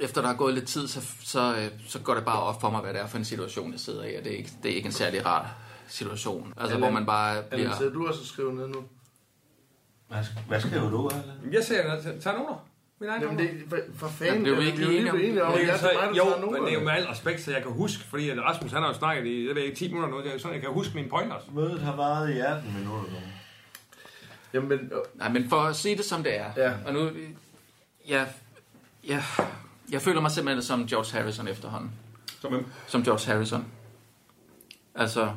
[SPEAKER 10] efter der er gået lidt tid, så, så, øh, så går det bare op for mig, hvad det er for en situation, jeg sidder i, og det er ikke, det er ikke en særlig rar situation. Altså,
[SPEAKER 9] Allan-
[SPEAKER 10] hvor man bare bliver...
[SPEAKER 9] Allan, sidder du også og skriver ned nu?
[SPEAKER 2] Hvad sk- Hvad skriver du, Allan?
[SPEAKER 8] Jeg ser, tager noter. Min egen
[SPEAKER 9] Jamen,
[SPEAKER 8] noter.
[SPEAKER 9] det er for- for fanden.
[SPEAKER 10] Jamen, det er jo
[SPEAKER 9] vi
[SPEAKER 10] ikke
[SPEAKER 9] jo
[SPEAKER 10] enige om-
[SPEAKER 9] blevet enige om,
[SPEAKER 8] Men
[SPEAKER 9] at jeg
[SPEAKER 8] jeg så,
[SPEAKER 9] er mig, der
[SPEAKER 8] jo,
[SPEAKER 9] tager
[SPEAKER 8] men det er jo
[SPEAKER 9] nogen.
[SPEAKER 8] med al respekt, så jeg kan huske, fordi at Rasmus han har jo snakket i jeg ved, ikke, 10 minutter noget, det er sådan, jeg kan huske mine pointers.
[SPEAKER 2] Mødet har varet i 18 minutter nu.
[SPEAKER 9] Jamen, øh,
[SPEAKER 10] Nej, men for at sige det, som det er.
[SPEAKER 9] Ja.
[SPEAKER 10] Og nu, jeg, jeg, jeg føler mig simpelthen som George Harrison efterhånden.
[SPEAKER 8] Som hvem?
[SPEAKER 10] Som George Harrison. Altså,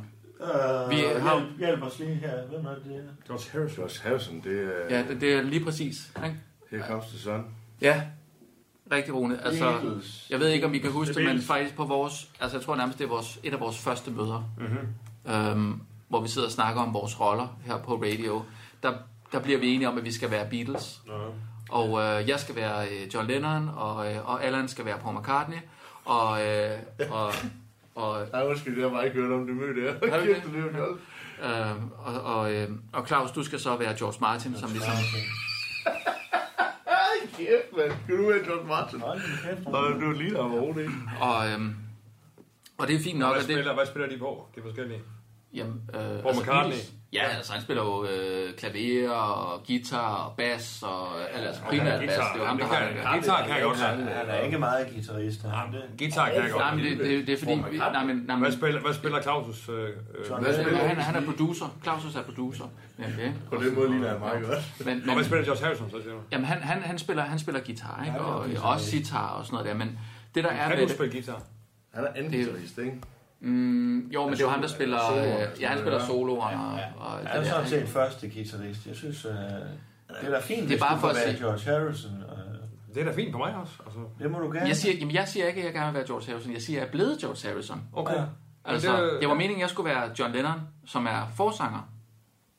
[SPEAKER 2] Øh,
[SPEAKER 10] Vi har-
[SPEAKER 2] hjælp, hjælp os lige her. Hvem er det?
[SPEAKER 8] George Harrison.
[SPEAKER 9] Claus Havsen, det er...
[SPEAKER 10] ja, det, det er lige præcis. Ikke?
[SPEAKER 9] Her comes the sun.
[SPEAKER 10] Ja, rigtig Rune. Altså,
[SPEAKER 2] Beatles.
[SPEAKER 10] jeg ved ikke, om I kan huske det, men
[SPEAKER 8] Beatles.
[SPEAKER 10] faktisk på vores... Altså, jeg tror nærmest, det er vores, et af vores første møder. Mm-hmm. Øhm, hvor vi sidder og snakker om vores roller her på radio. Der, der bliver vi enige om, at vi skal være Beatles. Og øh, jeg skal være øh, John Lennon, og, øh, og Allan skal være Paul McCartney, og, øh, og, Og,
[SPEAKER 9] Nej, undskyld, jeg har bare ikke hørt om det møde der.
[SPEAKER 10] Har du
[SPEAKER 9] Kæft,
[SPEAKER 10] det?
[SPEAKER 9] det er jo
[SPEAKER 10] øhm, og, og, øhm, og Claus, du skal så være George Martin, som ligesom...
[SPEAKER 9] Ej, kæft, mand. Skal du være John Martin? Nej, du er lige der, hvor det
[SPEAKER 10] Og, øhm, og det er fint nok.
[SPEAKER 8] Hvad
[SPEAKER 10] og det,
[SPEAKER 8] spiller, hvad spiller de på? De forskellige.
[SPEAKER 10] Jamen, øh,
[SPEAKER 8] Paul McCartney.
[SPEAKER 10] Ja, altså han spiller jo øh, klaver og guitar og bas og øh, altså primært
[SPEAKER 8] guitar.
[SPEAKER 10] bas. Det er jo ham, der
[SPEAKER 8] Det kan-
[SPEAKER 10] har
[SPEAKER 8] guitar kan jeg godt
[SPEAKER 11] Han,
[SPEAKER 8] lide.
[SPEAKER 11] han er ikke meget guitarist. Nej,
[SPEAKER 8] Guitar kan jeg godt
[SPEAKER 10] Nej, men det, det, det er fordi... vi- Nej, men, nej, men,
[SPEAKER 8] Hvad spiller, hvad spiller Claus? Øh, øh,
[SPEAKER 10] Hvad
[SPEAKER 8] hvad
[SPEAKER 10] spiller
[SPEAKER 8] spiller
[SPEAKER 10] han? Han er producer. Clausus er producer. Ja, okay.
[SPEAKER 9] På den måde ligner han meget godt.
[SPEAKER 10] Men,
[SPEAKER 8] Og
[SPEAKER 10] men,
[SPEAKER 8] hvad spiller George Harrison, så siger du?
[SPEAKER 10] jamen, han, han, han, spiller, han spiller guitar, ikke?
[SPEAKER 8] Ja, han er
[SPEAKER 10] Og øh,
[SPEAKER 8] guitarist.
[SPEAKER 10] også sitar og sådan noget der. Men det, der er
[SPEAKER 8] Kan
[SPEAKER 10] ved
[SPEAKER 8] du
[SPEAKER 10] det...
[SPEAKER 8] spille guitar?
[SPEAKER 9] Han er anden
[SPEAKER 10] Det er-
[SPEAKER 9] guitarist, ikke?
[SPEAKER 10] Mm, jo, men det er jo ham, der spiller...
[SPEAKER 9] Soloer.
[SPEAKER 10] Øh, ja, han spiller soloer. Og, og, det
[SPEAKER 11] Han er
[SPEAKER 10] der,
[SPEAKER 11] sådan
[SPEAKER 10] ikke?
[SPEAKER 11] set første guitarist. Jeg synes, øh, det er da fint,
[SPEAKER 10] Det er
[SPEAKER 11] hvis
[SPEAKER 10] bare
[SPEAKER 11] du
[SPEAKER 10] for
[SPEAKER 11] kan
[SPEAKER 10] at
[SPEAKER 11] være
[SPEAKER 10] se-
[SPEAKER 11] George Harrison. øh,
[SPEAKER 8] Det er da fint på mig også. Altså,
[SPEAKER 11] Det må du gerne.
[SPEAKER 10] Jeg siger, jamen jeg siger ikke, at jeg gerne vil være George Harrison. Jeg siger, at jeg er blevet George Harrison.
[SPEAKER 8] okay.
[SPEAKER 11] Ja.
[SPEAKER 10] Altså,
[SPEAKER 8] Men det-
[SPEAKER 10] det, det var meningen, at jeg skulle være John Lennon, som er forsanger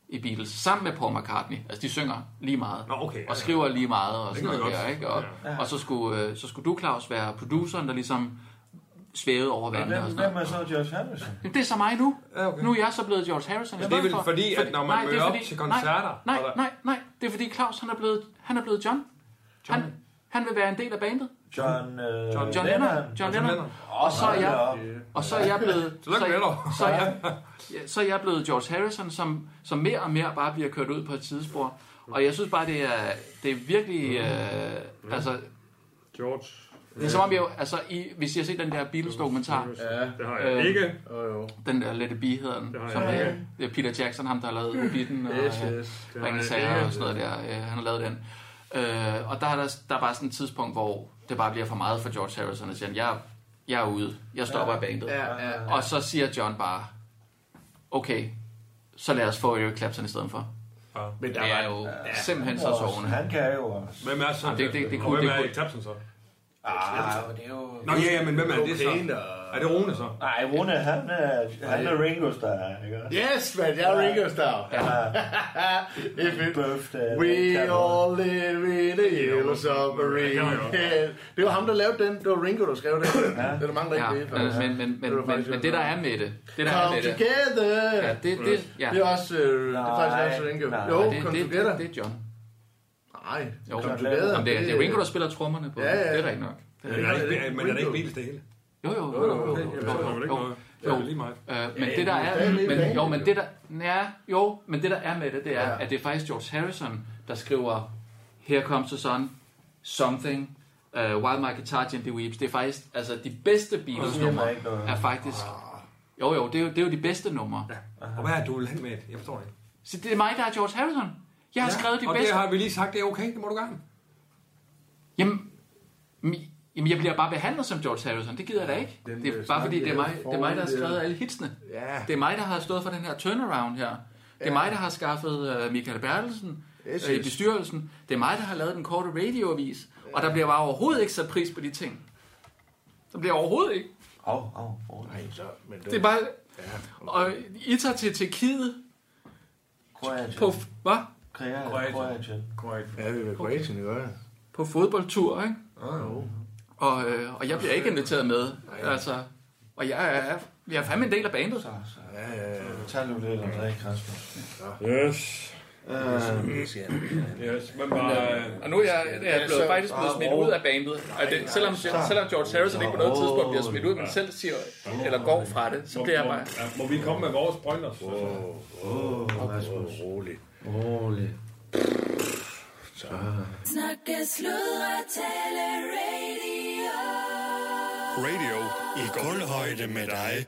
[SPEAKER 10] i Beatles, sammen med Paul McCartney. Altså, de synger lige meget.
[SPEAKER 8] Nå, okay, ja, ja.
[SPEAKER 10] og skriver lige meget og sådan
[SPEAKER 8] kan vi
[SPEAKER 10] noget
[SPEAKER 8] godt.
[SPEAKER 10] der, ikke? Og, ja. og så, skulle, øh, så skulle du, Claus, være produceren, der ligesom svævede over vandet
[SPEAKER 11] Hvem,
[SPEAKER 10] og sådan
[SPEAKER 11] hvem
[SPEAKER 10] noget.
[SPEAKER 11] er så George Harrison?
[SPEAKER 10] Jamen, det er så mig nu.
[SPEAKER 8] Ja, okay.
[SPEAKER 10] Nu er jeg så blevet George Harrison. i
[SPEAKER 8] Men det er
[SPEAKER 10] stedet
[SPEAKER 8] vel
[SPEAKER 10] for.
[SPEAKER 8] fordi, at når man
[SPEAKER 10] nej, det er
[SPEAKER 8] møder op
[SPEAKER 10] fordi-
[SPEAKER 8] til koncerter,
[SPEAKER 10] Nej,
[SPEAKER 8] og
[SPEAKER 10] nej,
[SPEAKER 8] der-
[SPEAKER 10] nej, nej. Det er fordi Claus, han er blevet, han er blevet John. John. Han, han vil være en del af bandet.
[SPEAKER 11] John, øh,
[SPEAKER 8] John-
[SPEAKER 10] John Lennon. John Lennon. Og så er jeg, og så er jeg
[SPEAKER 8] <laughs>
[SPEAKER 10] blevet...
[SPEAKER 8] Tillykke
[SPEAKER 10] så,
[SPEAKER 8] med det, dog.
[SPEAKER 10] så, er jeg, ja, så er jeg blevet George Harrison, som, som mere og mere bare bliver kørt ud på et sidespor. Og jeg synes bare, det er, det er
[SPEAKER 8] Mm.
[SPEAKER 10] virkelig... Øh, altså,
[SPEAKER 8] George.
[SPEAKER 10] det er som om jeg jo, altså, I, hvis I har set den der Beatles dokumentar,
[SPEAKER 8] Det har
[SPEAKER 10] Øhm,
[SPEAKER 8] jeg ikke.
[SPEAKER 9] Jo, jo.
[SPEAKER 10] den der Let It Be hedder den,
[SPEAKER 8] har jeg
[SPEAKER 10] som
[SPEAKER 8] ikke.
[SPEAKER 10] er, det er Peter Jackson, ham der har lavet Hobbiten og
[SPEAKER 9] Yes,
[SPEAKER 10] øh,
[SPEAKER 9] yes. Det har
[SPEAKER 10] Ringens
[SPEAKER 9] jeg
[SPEAKER 10] Herre
[SPEAKER 9] ikke.
[SPEAKER 10] og sådan noget der, øh, han har lavet den. Øh, og der er, der, der er bare sådan et tidspunkt, hvor det bare bliver for meget for George Harrison, og siger, han, jeg, jeg er ude, jeg stopper i bandet.
[SPEAKER 9] Ja, ja.
[SPEAKER 10] Og så siger John bare, okay, så lad os få Eric Clapton i stedet for.
[SPEAKER 9] Men der
[SPEAKER 10] Det er
[SPEAKER 9] var
[SPEAKER 10] jo simpelthen så
[SPEAKER 11] Og
[SPEAKER 10] sovende.
[SPEAKER 11] han kan jo også.
[SPEAKER 8] Hvem er så?
[SPEAKER 10] Jamen, det- det- det
[SPEAKER 8] og
[SPEAKER 10] kunne-
[SPEAKER 8] hvem
[SPEAKER 10] det
[SPEAKER 8] er
[SPEAKER 10] kunne-
[SPEAKER 8] Erik Clapton så?
[SPEAKER 11] Ah, men det er jo...
[SPEAKER 8] Nå ja, ja, men hvem er det så?
[SPEAKER 9] Cocaine og-
[SPEAKER 8] Er det Rune så?
[SPEAKER 11] Nej, Rune, han er, han er Ringo Starr, ikke også?
[SPEAKER 9] Yes, man, jeg er Ringo Starr. If it-
[SPEAKER 11] Bøft, øh,
[SPEAKER 9] We
[SPEAKER 11] kan du-
[SPEAKER 9] all live in a yellow submarine. Det var ham, der lavede den. Det var Ringo, der skrev den. Det er der mange, der
[SPEAKER 10] Ja,
[SPEAKER 9] ikke ved. faktisk.
[SPEAKER 10] men, men,
[SPEAKER 9] Det
[SPEAKER 10] men,
[SPEAKER 9] var
[SPEAKER 10] men, men,
[SPEAKER 9] faktisk-
[SPEAKER 10] men det der er med det, det der er
[SPEAKER 9] Come
[SPEAKER 10] med det,
[SPEAKER 9] together.
[SPEAKER 10] ja, det, det, ja,
[SPEAKER 9] Det er også, øh, det er
[SPEAKER 11] Nej,
[SPEAKER 9] faktisk også Ringo.
[SPEAKER 11] nej.
[SPEAKER 9] Jo,
[SPEAKER 10] det,
[SPEAKER 9] Come
[SPEAKER 10] det, det,
[SPEAKER 9] Together.
[SPEAKER 10] det er John.
[SPEAKER 9] Nej,
[SPEAKER 10] Jo,
[SPEAKER 9] Come Together.
[SPEAKER 10] Jamen, det, er, det er Ringo, der spiller trommerne på.
[SPEAKER 9] Ja, ja.
[SPEAKER 10] Det er rigtigt nok.
[SPEAKER 8] Men er det ikke- Men er det ikke Beatles det hele?
[SPEAKER 10] Jo, jo, jo, jo, jo,
[SPEAKER 8] Okay, jamen, så er det vel
[SPEAKER 10] jo,
[SPEAKER 8] ikke
[SPEAKER 10] jo.
[SPEAKER 8] noget. Det er vel lige meget.
[SPEAKER 10] Øh, men det der er, men, jo, men det der, ja, jo, men det der er med det, det er, at det er faktisk George Harrison, der skriver Here Comes the Sun, Something, uh, While My Guitar Gently Weeps. Det er faktisk, altså de bedste Beatles
[SPEAKER 11] siger
[SPEAKER 10] numre
[SPEAKER 11] mig ikke noget.
[SPEAKER 10] er faktisk, jo jo, det er jo, det er jo de bedste numre.
[SPEAKER 8] Og hvad er du vil hen med? Jeg forstår ikke.
[SPEAKER 10] Så det er mig, der er George Harrison. Jeg har skrevet de
[SPEAKER 8] og
[SPEAKER 10] bedste.
[SPEAKER 8] det har vi lige sagt, det er okay, det må du gerne.
[SPEAKER 10] Jamen, mi- jamen, jeg bliver bare behandlet som George Harrison. Det gider jeg da ikke.
[SPEAKER 9] Den,
[SPEAKER 10] det
[SPEAKER 9] øh,
[SPEAKER 10] er bare fordi,
[SPEAKER 9] snak,
[SPEAKER 10] det er,
[SPEAKER 9] jeg
[SPEAKER 10] mig,
[SPEAKER 9] havde
[SPEAKER 10] det er mig, der har
[SPEAKER 9] foruden,
[SPEAKER 10] skrevet
[SPEAKER 9] øh,
[SPEAKER 10] alle hitsene.
[SPEAKER 9] Ja.
[SPEAKER 10] Det er mig, der har stået for den her turnaround her. Det er mig, der har skaffet øh, Michael Bertelsen
[SPEAKER 9] Yes,
[SPEAKER 10] yes, i
[SPEAKER 9] yes.
[SPEAKER 10] bestyrelsen. Det er mig, der har lavet den korte radioavis. Og der bliver bare overhovedet ikke sat pris på de ting. Der bliver overhovedet ikke.
[SPEAKER 11] Au, au, au.
[SPEAKER 9] Nej, så- men det-
[SPEAKER 10] Det er bare... Og I tager til Tjekkiet
[SPEAKER 11] Kroatien.
[SPEAKER 10] på, hvad?
[SPEAKER 11] Kroatien. Kroatien.
[SPEAKER 9] Ja, det er jo Kroatien, ikke også?
[SPEAKER 10] på fodboldtur, ikke?
[SPEAKER 9] Åh, jo.
[SPEAKER 10] Og, øh, og jeg bliver ikke inviteret med. Altså, og jeg er, jeg er fandme en del af bandet.
[SPEAKER 9] Ja, ja, ja.
[SPEAKER 11] Tag nu lidt og
[SPEAKER 2] Mm.
[SPEAKER 11] drik, Rasmus.
[SPEAKER 8] Yes.
[SPEAKER 9] Det sker.
[SPEAKER 8] Øh, Yes, men bare... øh,
[SPEAKER 10] Og nu er jeg, jeg er blevet,
[SPEAKER 9] så-
[SPEAKER 10] faktisk blevet smidt ud af bandet. Og det, selvom, selvom George Harrison ikke på noget tidspunkt bliver smidt ud, men selv siger, eller går fra det, så bliver jeg bare...
[SPEAKER 8] Må vi komme med vores pointers? Wow.
[SPEAKER 9] Åh, rolig.
[SPEAKER 4] Snakke, sludre, tale, radio.
[SPEAKER 5] Radio i guldhøjde med dig.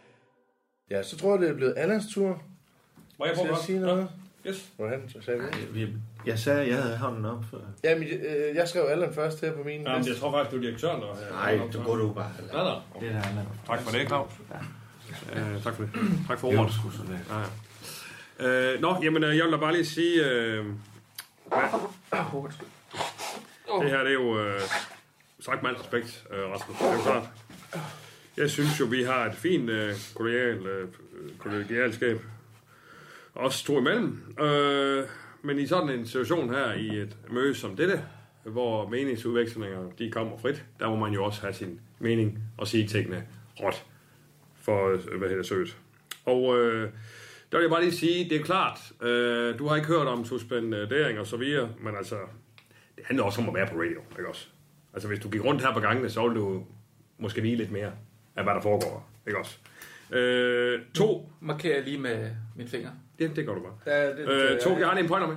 [SPEAKER 9] Ja, så tror jeg, det er blevet Allans tur.
[SPEAKER 8] Må jeg
[SPEAKER 9] Skal
[SPEAKER 8] prøve
[SPEAKER 9] jeg
[SPEAKER 8] at
[SPEAKER 9] sige noget?
[SPEAKER 8] Yes.
[SPEAKER 9] Hvordan så sagde vi?
[SPEAKER 11] Vi- Jeg sagde, at jeg havde hånden op. før.
[SPEAKER 9] Jamen, øh, jeg skrev Allan først her på min
[SPEAKER 8] Jamen, jeg tror faktisk, du er direktøren, der
[SPEAKER 11] Nej, du går du bare.
[SPEAKER 8] Nej, nej.
[SPEAKER 11] Det der er
[SPEAKER 8] Tak for det, Claus. Øh, tak for det. Tak for ordet. Ja, ja. Øh, nå, jamen, øh, jeg vil da bare lige sige... Øh, hvad? Det her, det er jo... Øh, sagt med al respekt, øh, Rasmus. Det er jo klart. Jeg synes jo, vi har et fint øh, kollegial, øh, kollegialskab. Også to imellem. Øh, men i sådan en situation her, i et møde som dette, hvor meningsudvekslinger de kommer frit, der må man jo også have sin mening og sige tingene råt for, øh, hvad hedder søget. Og øh, der vil jeg bare lige sige, det er klart, øh, du har ikke hørt om suspendering og så videre, men altså, det handler også om at være på radio, ikke også? Altså, hvis du gik rundt her på gangene, så ville du måske vide lidt mere af, hvad der foregår, ikke også? Øh, to.
[SPEAKER 10] Markerer jeg lige med min finger.
[SPEAKER 8] Det, det gør du bare.
[SPEAKER 10] Ja, det- det-
[SPEAKER 8] øh, to, jeg har lige en pointer med.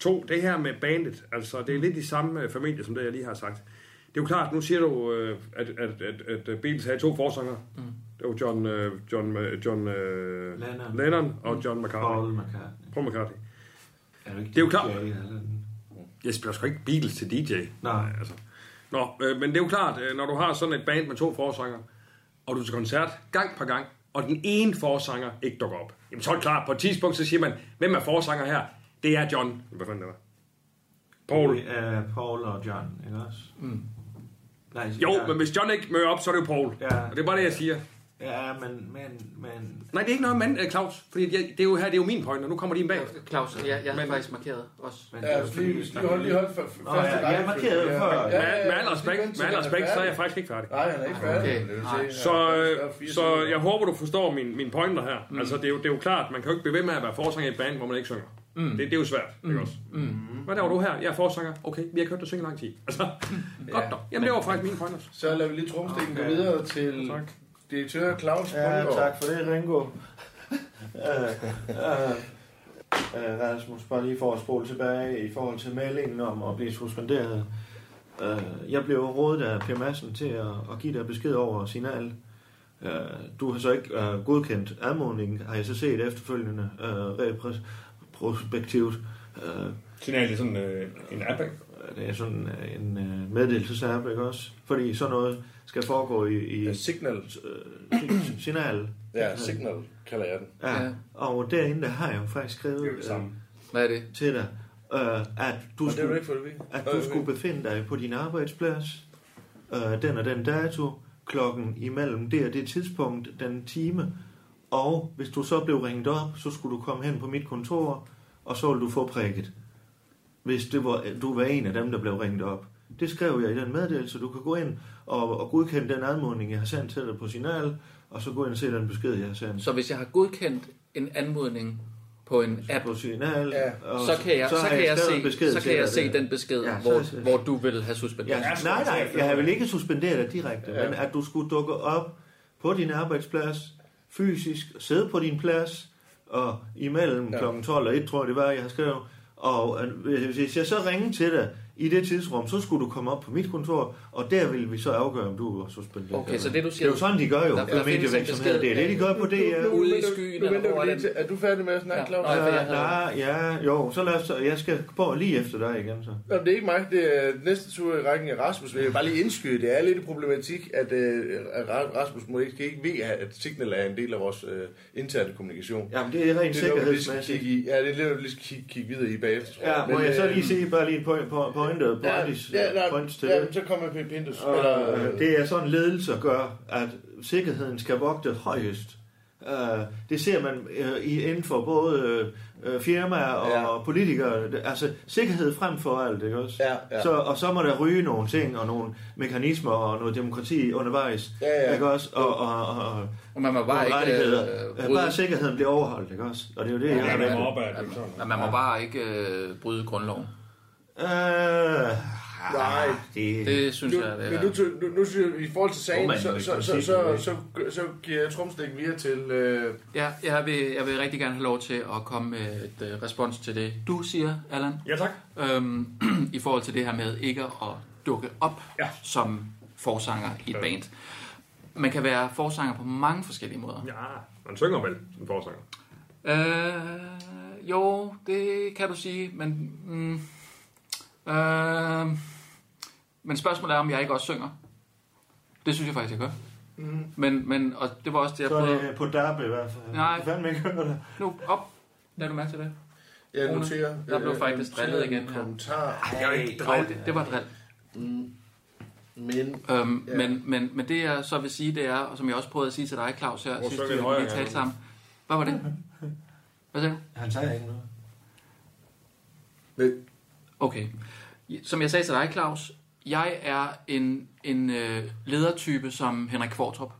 [SPEAKER 8] To, det her med bandet, altså det er lidt i samme øh, familie, som det jeg lige har sagt. Det er jo klart, nu siger du, øh, at, at, at, at Beatles havde to forsanger. Mm. Det var John, øh, John, øh, John øh,
[SPEAKER 2] Lennon. Mm.
[SPEAKER 8] Lennon og John McCartney.
[SPEAKER 2] Paul McCartney.
[SPEAKER 8] Paul McCartney.
[SPEAKER 2] Er du ikke
[SPEAKER 8] Det er jo klart.
[SPEAKER 2] DJ eller-
[SPEAKER 8] Jeg spiller sgu ikke Beatles til DJ.
[SPEAKER 2] Nej.
[SPEAKER 8] Altså. Nå, øh, men det er jo klart, øh, når du har sådan et band med to forsanger, og du er til koncert gang på gang, og den ene forsanger ikke dukker op, jamen så er det klart, på et tidspunkt, så siger man, hvem er forsanger her? Det er John. Hvad fanden er det? Paul.
[SPEAKER 2] Det er Paul og John, ikke også? Mm. Nej,
[SPEAKER 8] Jo,
[SPEAKER 2] ja.
[SPEAKER 8] men hvis John ikke møder op, så er det jo Paul. Ja. Og det er bare det, jeg siger.
[SPEAKER 2] Ja, men, men, men...
[SPEAKER 8] Nej, det er ikke noget mand, øh, Claus. Fordi jeg, det er jo her, det er jo min point, og nu kommer din bag.
[SPEAKER 10] Claus, jeg, jeg har faktisk markeret også.
[SPEAKER 9] Ja, altså, lige- lige hold- lige hold for- for- Nå, første ja, gang. jeg markerede
[SPEAKER 8] Ja.
[SPEAKER 9] for-
[SPEAKER 8] Med,
[SPEAKER 9] Ja, ja, ja.
[SPEAKER 8] med al
[SPEAKER 9] Det er
[SPEAKER 8] respekt, med al
[SPEAKER 9] vent til,
[SPEAKER 8] respekt,
[SPEAKER 9] han er
[SPEAKER 8] så er jeg
[SPEAKER 9] færdig.
[SPEAKER 8] faktisk ikke færdig.
[SPEAKER 9] Nej, han er
[SPEAKER 2] Ah,
[SPEAKER 9] ikke færdig, men det vil sige,
[SPEAKER 8] Nej.
[SPEAKER 9] han
[SPEAKER 8] Så,
[SPEAKER 9] er-
[SPEAKER 8] øh,
[SPEAKER 9] han er fire
[SPEAKER 8] så
[SPEAKER 9] sekunder.
[SPEAKER 8] jeg håber, du forstår min, min pointer her. Mm. Altså, det er, jo, det er jo klart, man kan jo ikke blive ved med at være forsanger i et band, hvor man ikke synger.
[SPEAKER 10] Mm.
[SPEAKER 8] Mm. Det, det er jo svært, mm. ikke også? Mm. Hvad laver du her? Jeg er forsanger. Okay, vi har kørt dig synge i lang tid. Altså, godt dog. Jamen, det var faktisk mine pointers.
[SPEAKER 9] Så lader vi lige tromstikken gå videre til direktør Claus
[SPEAKER 2] Ja,
[SPEAKER 9] Bundgaard.
[SPEAKER 2] tak for det, Ringo. Øh, øh, øh, Rasmus, bare lige for at spole tilbage i forhold til meldingen om at blive suspenderet. Øh, jeg blev rådet af Per Madsen til at, at give dig besked over signal. Øh, du har så ikke øh, godkendt anmodningen, har jeg så set efterfølgende øh, retrospektivt. Øh,
[SPEAKER 8] signal er sådan øh, en app,
[SPEAKER 2] Det er sådan øh, en øh, meddelelsesapp, ikke også? Fordi sådan noget skal foregå i... i
[SPEAKER 9] signal.
[SPEAKER 2] Øh, signal.
[SPEAKER 9] Ja, Signal kalder jeg den.
[SPEAKER 2] Ja. ja. Og derinde, der har jeg jo faktisk skrevet...
[SPEAKER 9] Det er jo det samme.
[SPEAKER 10] Hvad er det?
[SPEAKER 2] Til dig. Øh, at
[SPEAKER 9] Og
[SPEAKER 2] du,
[SPEAKER 9] det har du
[SPEAKER 2] skulle,
[SPEAKER 9] ikke fået at vide.
[SPEAKER 2] at
[SPEAKER 9] Hvad er
[SPEAKER 2] du
[SPEAKER 9] det?
[SPEAKER 2] skulle befinde dig på din arbejdsplads øh, den og den dato, klokken imellem det og det tidspunkt, den time. Og hvis du så blev ringet op, så skulle du komme hen på mit kontor, og så ville du få prikket. Hvis det var, du var en af dem, der blev ringet op. Det skrev jeg i den meddelelse. Du kan gå ind og, og godkende den anmodning, jeg har sendt til dig på signal, og så gå ind og se den besked, jeg har sendt.
[SPEAKER 10] Så hvis jeg har godkendt en anmodning på en app, på
[SPEAKER 2] signal, ja. og
[SPEAKER 10] så kan jeg,
[SPEAKER 2] så
[SPEAKER 10] så,
[SPEAKER 2] har
[SPEAKER 10] kan
[SPEAKER 2] jeg
[SPEAKER 10] jeg,
[SPEAKER 2] skrevet en besked
[SPEAKER 10] se, så
[SPEAKER 2] til
[SPEAKER 10] kan jeg
[SPEAKER 2] dig
[SPEAKER 10] se
[SPEAKER 2] der.
[SPEAKER 10] den besked,
[SPEAKER 2] Ja,
[SPEAKER 10] ja,
[SPEAKER 2] så-
[SPEAKER 10] hvor, hvor du vil have suspenderet.
[SPEAKER 2] Ja, nej, nej, jeg har vel ikke suspenderet dig direkte, ja. men at du skulle dukke op på din arbejdsplads, fysisk, sidde på din plads, og imellem ja. kl. 12 og 1, tror jeg det var, jeg har skrevet, og øh, hvis jeg så ringede til dig i det tidsrum, så skulle du komme op på mit kontor, og der ville vi så afgøre, om du var suspenderet.
[SPEAKER 10] Okay,
[SPEAKER 2] eller
[SPEAKER 10] så
[SPEAKER 2] ej.
[SPEAKER 10] det du siger...
[SPEAKER 2] Det er jo sådan, de gør jo,
[SPEAKER 10] Der-
[SPEAKER 2] der,
[SPEAKER 10] der
[SPEAKER 2] der
[SPEAKER 10] findes en
[SPEAKER 2] medievirksomheder. Det er det, de gør på
[SPEAKER 9] Nu-
[SPEAKER 2] det.
[SPEAKER 9] nu- nu-
[SPEAKER 10] Ude i
[SPEAKER 9] nu-
[SPEAKER 10] skyen,
[SPEAKER 9] Nu
[SPEAKER 10] eller
[SPEAKER 9] venter
[SPEAKER 10] hvor
[SPEAKER 9] vi
[SPEAKER 10] er
[SPEAKER 9] lige til... Er du færdig med at snakke, Claus?
[SPEAKER 2] Ja, nej, ja, jo, så lad os, jeg skal på lige efter dig igen, så.
[SPEAKER 9] Nå, det er ikke mig. Det er næste tur i rækken af Rasmus. Vil jeg bare lige indskyde, det er lidt en problematik, at, øh, at Ra- Rasmus må ikke, ikke ved, at Signal er en del af vores øh, interne kommunikation.
[SPEAKER 2] Jamen, det er rent
[SPEAKER 9] det, noget, vi lige skal
[SPEAKER 2] sikkerhedsmæssigt.
[SPEAKER 9] kigge i. Ja, det er noget, vi lige skal kigge, kigge videre i bagefter, tror
[SPEAKER 2] Ja,
[SPEAKER 9] jeg.
[SPEAKER 2] må
[SPEAKER 9] Men,
[SPEAKER 2] jeg så
[SPEAKER 9] øh,
[SPEAKER 2] lige se bare lige på, på, pointet,
[SPEAKER 9] Ja,
[SPEAKER 2] pointis,
[SPEAKER 9] ja, nej,
[SPEAKER 2] points til
[SPEAKER 9] ja,
[SPEAKER 2] det.
[SPEAKER 9] så kommer Pim Pintus.
[SPEAKER 2] Og,
[SPEAKER 9] Eller,
[SPEAKER 2] øh, det er sådan ledelse gør, at sikkerheden skal vogte højest. Øh, Det ser man øh, i- inden for både øh, øh, firmaer og ja. politikere. Det- Altså sikkerhed frem for alt, ikke også?
[SPEAKER 9] ja.
[SPEAKER 2] Så, og så må der ryge nogle ting og nogle mekanismer og noget demokrati undervejs,
[SPEAKER 9] ja.
[SPEAKER 2] ikke også? Og, og, og, og,
[SPEAKER 10] og man må bare
[SPEAKER 2] nogle
[SPEAKER 10] ikke,
[SPEAKER 2] rettigheder.
[SPEAKER 10] øh,
[SPEAKER 2] Øh,
[SPEAKER 10] bryde-
[SPEAKER 2] bare sikkerheden bliver overholdt, ikke også? Og det er jo det, jeg har valgt.
[SPEAKER 10] man, man må bare ikke øh, bryde grundloven.
[SPEAKER 2] Øh, nej, det,
[SPEAKER 10] Det synes
[SPEAKER 9] nu,
[SPEAKER 10] jeg, det
[SPEAKER 9] men
[SPEAKER 10] er-
[SPEAKER 9] nu, tø- nu, nu synes jeg, i forhold til sagen,
[SPEAKER 10] Formanden
[SPEAKER 9] så,
[SPEAKER 10] vil
[SPEAKER 9] så,
[SPEAKER 10] ikke
[SPEAKER 9] så,
[SPEAKER 10] sige
[SPEAKER 9] så,
[SPEAKER 10] det.
[SPEAKER 9] så, så giver jeg tromstikken videre til... Øh,
[SPEAKER 10] Ja, jeg vil, jeg vil rigtig gerne have lov til at komme med et øh, respons til det, du siger, Allan.
[SPEAKER 8] Ja, tak.
[SPEAKER 10] Øhm, <clears throat> I forhold til det her med ikke at dukke op ja. som forsanger i et band. Man kan være forsanger på mange forskellige måder.
[SPEAKER 8] Ja, man synger vel som forsanger.
[SPEAKER 10] Øh, jo, det kan du sige, men... Mm, øh, men spørgsmålet er, om jeg ikke også synger. Det synes jeg faktisk, jeg gør.
[SPEAKER 2] Mhm.
[SPEAKER 10] Men, men og det var også det, jeg
[SPEAKER 2] Så er
[SPEAKER 10] prøvede...
[SPEAKER 2] det på Derby i hvert fald.
[SPEAKER 10] Nej.
[SPEAKER 2] Hvad med ikke det?
[SPEAKER 10] Nu, op. Lad du mærke til det.
[SPEAKER 9] Jeg
[SPEAKER 10] Rune,
[SPEAKER 9] noterer.
[SPEAKER 10] Der blev
[SPEAKER 9] Øh,
[SPEAKER 10] faktisk
[SPEAKER 9] noterer
[SPEAKER 10] drillet
[SPEAKER 9] en
[SPEAKER 10] igen her.
[SPEAKER 9] Kommentar.
[SPEAKER 10] Ej, det var ikke drill. Jo, det- det var drill.
[SPEAKER 9] Mm. Men...
[SPEAKER 10] Øhm, ja. men, men, men det, jeg så vil sige, det er, og som jeg også prøvede at sige til dig, Claus, her,
[SPEAKER 9] Hvor
[SPEAKER 10] sidst
[SPEAKER 9] synger
[SPEAKER 10] vi
[SPEAKER 9] I højere
[SPEAKER 10] lige talte
[SPEAKER 9] herinde?
[SPEAKER 10] sammen. Hvad var det? Hvad sagde du?
[SPEAKER 2] Han sagde ikke noget.
[SPEAKER 9] Men...
[SPEAKER 10] Okay. Som jeg sagde til dig, Claus, jeg er en, en øh, ledertype som Henrik Kvartrup.